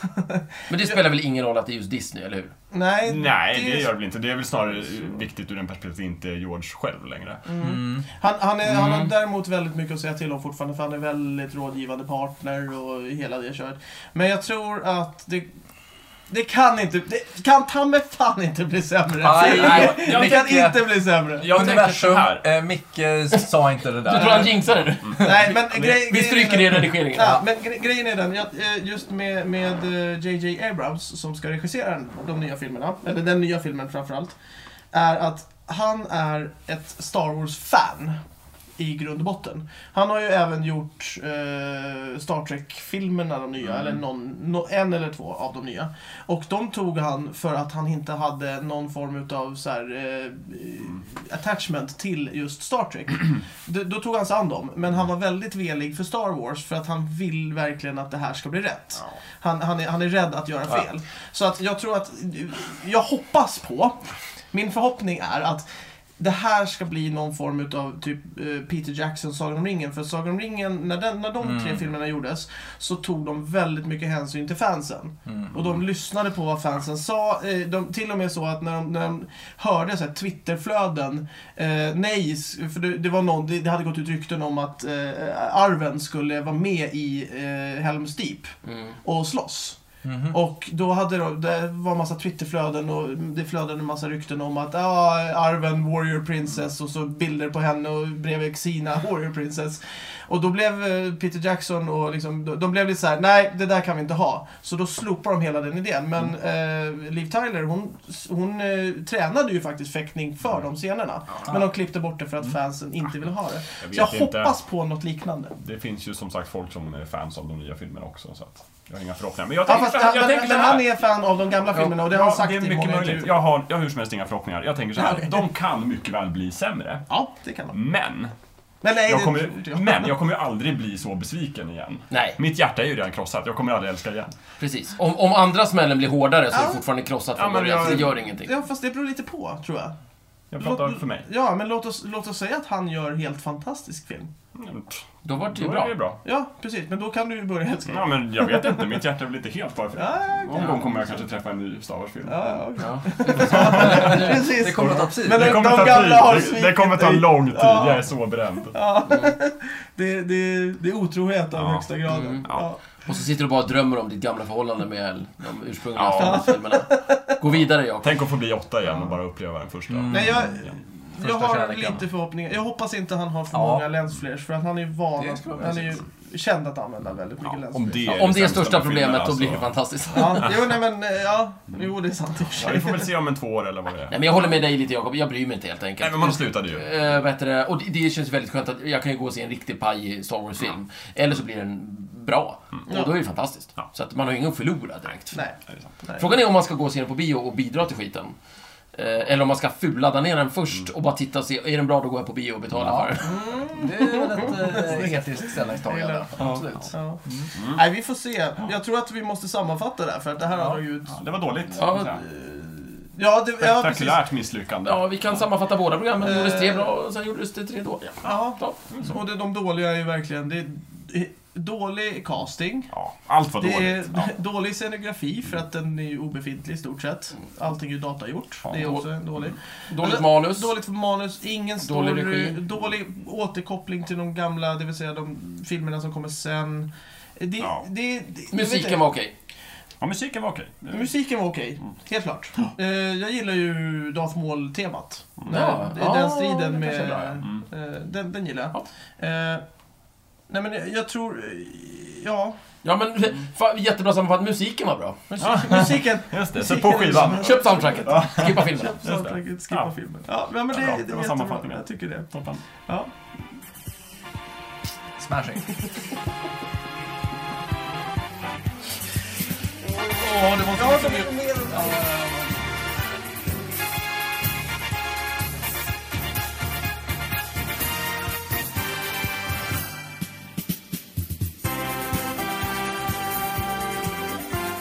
Speaker 5: Men det spelar väl ingen roll att det är just Disney, eller hur?
Speaker 1: nej,
Speaker 4: Nej, det gör det väl inte. Det är väl snarare viktigt ur den perspektivet att det inte är George själv längre.
Speaker 3: Mm.
Speaker 1: han, han, är, han har
Speaker 3: Mm.
Speaker 1: däremot väldigt mycket att säga till om fortfarande, för han är väldigt rådgivande partner och hela det köret. Men jag tror att det... Det kan inte, det kan ta mig fan inte bli sämre.
Speaker 3: Nej,
Speaker 5: nej,
Speaker 1: det
Speaker 3: jag
Speaker 1: kan
Speaker 3: tycker-
Speaker 1: inte bli sämre.
Speaker 4: Jag
Speaker 3: Universum, eh, Micke sa inte det där.
Speaker 5: Du tror han jinxade det?
Speaker 4: Mm.
Speaker 1: Nej, men grej,
Speaker 5: Vi
Speaker 1: grejen är
Speaker 5: stryker
Speaker 1: den-
Speaker 5: det i redigeringen.
Speaker 1: Ja, men gre- grejen är den, jag, eh, just med, med eh, JJ Abrams som ska regissera de nya filmerna, eller den nya filmen framförallt, är att han är ett Star Wars-fan i grund och botten. Han har ju även gjort eh, Star Trek-filmerna, de nya, eller någon, nå- en eller två av de nya. Och de tog han för att han inte hade någon form utav så här, eh, attachment till just Star Trek. Då, då tog han sig an dem, men han var väldigt velig för Star Wars för att han vill verkligen att det här ska bli rätt. Han, han, är, han är rädd att göra
Speaker 3: Ja.
Speaker 1: fel. Så att jag tror att, jag hoppas på, min förhoppning är att det här ska bli någon form utav typ eh, Peter Jackson Sagan om ringen. För Sagan om ringen, när, den, när de tre
Speaker 3: Mm.
Speaker 1: filmerna gjordes, så tog de väldigt mycket hänsyn till fansen.
Speaker 3: Mm.
Speaker 1: Och de lyssnade på vad fansen sa. Eh, De, till och med så att när de, när de hörde så här Twitterflöden, eh, nej, s- för det, det var någon, det, det hade gått ut rykten om att eh, Arven skulle vara med i eh, Helms Deep
Speaker 5: Mm.
Speaker 1: och slåss.
Speaker 3: Mhm.
Speaker 4: Mm.
Speaker 1: Och då hade de, det var en massa Twitterflöden och det flödade en massa rykten om att ah, Arven Warrior Princess och så bilder på henne och bredvid Xena Warrior Princess. Och då blev eh, Peter Jackson och liksom, de- de blev lite så här: nej det där kan vi inte ha. Så då slopar de hela den idén. Men
Speaker 4: Mm.
Speaker 1: eh, Liv Tyler hon, hon eh, tränade ju faktiskt fäktning för de scenerna. Men de klippte bort det för att fansen inte ville ha det.
Speaker 4: Mm. Jag vet
Speaker 1: Så jag
Speaker 4: inte.
Speaker 1: hoppas på något liknande.
Speaker 4: Det finns ju som sagt folk som är fans av de nya filmerna också. Så att jag har inga förhoppningar. Men jag
Speaker 1: Ja,
Speaker 4: tänker,
Speaker 1: fast,
Speaker 4: så här- jag
Speaker 1: men,
Speaker 4: tänker så
Speaker 1: men
Speaker 4: här.
Speaker 1: han är fan av de gamla filmerna och det har han sagt
Speaker 4: det är
Speaker 1: i många
Speaker 4: mycket möjligt.
Speaker 1: intervjuer.
Speaker 4: Jag har, jag har hur som helst inga förhoppningar. Jag tänker så här,
Speaker 1: Nej.
Speaker 4: de kan mycket väl bli sämre.
Speaker 1: Ja, det kan man.
Speaker 4: Men
Speaker 1: Men nej,
Speaker 4: Jag
Speaker 1: det
Speaker 4: kommer,
Speaker 1: tror inte
Speaker 4: ju- men jag kommer ju aldrig bli så besviken igen.
Speaker 5: Nej,
Speaker 4: Mitt hjärta är ju redan krossat, jag kommer aldrig älska igen.
Speaker 5: precis. Om, om andra smällen blir hårdare så är
Speaker 1: Ja.
Speaker 5: det fortfarande krossat
Speaker 4: Ja,
Speaker 5: från
Speaker 4: men
Speaker 5: början, så det
Speaker 4: jag-
Speaker 5: gör ingenting.
Speaker 1: Ja, fast det beror lite på, tror jag.
Speaker 4: Jag pratar för mig.
Speaker 1: Ja, men låt oss, låt oss säga att han gör helt fantastisk film.
Speaker 4: Mm, pff,
Speaker 5: Då var det ju
Speaker 4: Då är
Speaker 5: bra.
Speaker 4: det bra.
Speaker 1: Ja, precis. Men då kan du ju börja älska
Speaker 4: Ja,
Speaker 1: den.
Speaker 4: men jag vet inte, mitt hjärta är väl inte helt bara för
Speaker 1: Ja, ja,
Speaker 4: Någon gång kommer jag kanske träffa en ny Star Wars-film.
Speaker 1: ja, okej.
Speaker 5: Ja.
Speaker 1: Precis.
Speaker 3: eh, Det kommer att ta tid.
Speaker 1: Men-
Speaker 4: Det kommer
Speaker 1: De
Speaker 4: ta
Speaker 1: gamla har
Speaker 4: tid, det, det
Speaker 1: svikit
Speaker 4: kommer ta
Speaker 1: dig.
Speaker 4: lång tid,
Speaker 1: Ja.
Speaker 4: jag är så bränd.
Speaker 1: Ja. Det, det, det är otrohet av
Speaker 4: Ja.
Speaker 1: högsta graden.
Speaker 5: Mm.
Speaker 1: Ja.
Speaker 5: Och så sitter du bara och drömmer om ditt gamla förhållande med de ursprungliga
Speaker 4: Ja.
Speaker 5: Star Wars-filmerna. Gå vidare, Jakob.
Speaker 4: Tänk att få bli åtta igen och bara uppleva den första.
Speaker 3: Mm.
Speaker 1: Nej, jag, jag
Speaker 3: Första
Speaker 1: har
Speaker 3: kärleken.
Speaker 1: lite förhoppningar. Jag hoppas inte han har för
Speaker 3: Ja.
Speaker 1: många lensflares, för att han är ju van
Speaker 3: Det
Speaker 1: att,
Speaker 3: skulle vara
Speaker 1: han är ju känd att använda väldigt mycket
Speaker 4: Ja,
Speaker 1: lensflares.
Speaker 4: om det är,
Speaker 5: Ja, om det är
Speaker 4: sämsta
Speaker 5: största
Speaker 4: med liksom filmerna,
Speaker 5: problemet,
Speaker 4: alltså.
Speaker 5: då blir det
Speaker 4: så-
Speaker 5: fantastiskt.
Speaker 1: Ja, jo, nej, men eh, ja. Jo, det är sant i och för
Speaker 4: Ja, vi får
Speaker 1: sig.
Speaker 4: väl se om en två år eller vad det är.
Speaker 5: Nej, men jag håller med dig lite, Jakob. Jag bryr mig inte helt
Speaker 4: Nej,
Speaker 5: enkelt.
Speaker 4: men man slutade ju.
Speaker 5: Eh, vad heter det? Och det, det känns väldigt skönt att jag kan ju gå och se en riktig paj Star Wars-film. Eller så blir den bra. Och då är det fantastiskt.
Speaker 4: Ja.
Speaker 5: Så att man har ju ingen att förlora direkt.
Speaker 1: Nej.
Speaker 4: Är det sant?
Speaker 1: nej.
Speaker 5: Frågan är om man ska gå och se den på bio och bidra till skiten. Eh, Eller om man ska fulladda ner den först och bara titta och se, är den bra då går jag på bio och betalar för den.
Speaker 3: Det är väl ett eh, etiskt ställningstagande.
Speaker 1: Ja.
Speaker 3: Absolut.
Speaker 1: Ja. Nej, vi får se. Jag tror att vi måste sammanfatta det här, för att det här har ju...
Speaker 4: Mm. Ja, Det var dåligt.
Speaker 5: Ja,
Speaker 4: kan jag säga.
Speaker 1: Ja, det, ja precis.
Speaker 4: Spektakulärt misslyckande.
Speaker 5: Ja, vi kan sammanfatta båda programmen. Det gjordes tre bra och sen gjordes det tre dåliga.
Speaker 1: Ja.
Speaker 5: Ja.
Speaker 1: Och det, de dåliga är ju verkligen... Det är dålig casting.
Speaker 4: Ja, allt var
Speaker 1: Det är
Speaker 4: dåligt. Ja.
Speaker 1: dålig scenografi för att den är ju obefintlig i stort sett. Allting är ju datagjort. Det är
Speaker 5: Då-
Speaker 1: också en
Speaker 4: Mm.
Speaker 1: dålig.
Speaker 5: Dåligt manus.
Speaker 1: Dåligt för manus, ingen story,
Speaker 5: Dålig
Speaker 1: dålig,
Speaker 5: regi.
Speaker 1: återkoppling till de gamla, det vill säga de filmerna som kommer sen. Det,
Speaker 4: Ja.
Speaker 1: det, det, jag vet
Speaker 5: Musiken var okej.
Speaker 4: ja, musiken var okej.
Speaker 1: inte. Musiken var okej,
Speaker 4: Mm.
Speaker 1: helt klart. Eh, jag gillar ju Darth Maul-temat.
Speaker 5: Ja.
Speaker 1: Eh, Den
Speaker 5: Ja,
Speaker 1: striden
Speaker 5: det
Speaker 1: med...
Speaker 5: kanske är bra, ja.
Speaker 4: Mm.
Speaker 1: eh, den, den gillar jag. Eh, nej men jag, jag tror... eh, Ja,
Speaker 5: Ja, men fan, jättebra sammanfattning. Musiken var bra.
Speaker 1: musik, musiken...
Speaker 4: Just det, sätt
Speaker 1: musiken
Speaker 4: på
Speaker 1: är
Speaker 4: skivan.
Speaker 1: liksom-
Speaker 5: Köp soundtracket. Skippa filmerna.
Speaker 4: Just det.
Speaker 1: Soundtracket, skippa
Speaker 4: Ja.
Speaker 1: filmen. Ja, men det,
Speaker 4: Ja, bra.
Speaker 1: det,
Speaker 4: Det var
Speaker 1: var
Speaker 4: sammanfattningen.
Speaker 1: Jag tycker det.
Speaker 4: Toppen.
Speaker 1: Ja.
Speaker 3: Smashing.
Speaker 1: Åh, det måste ja, det,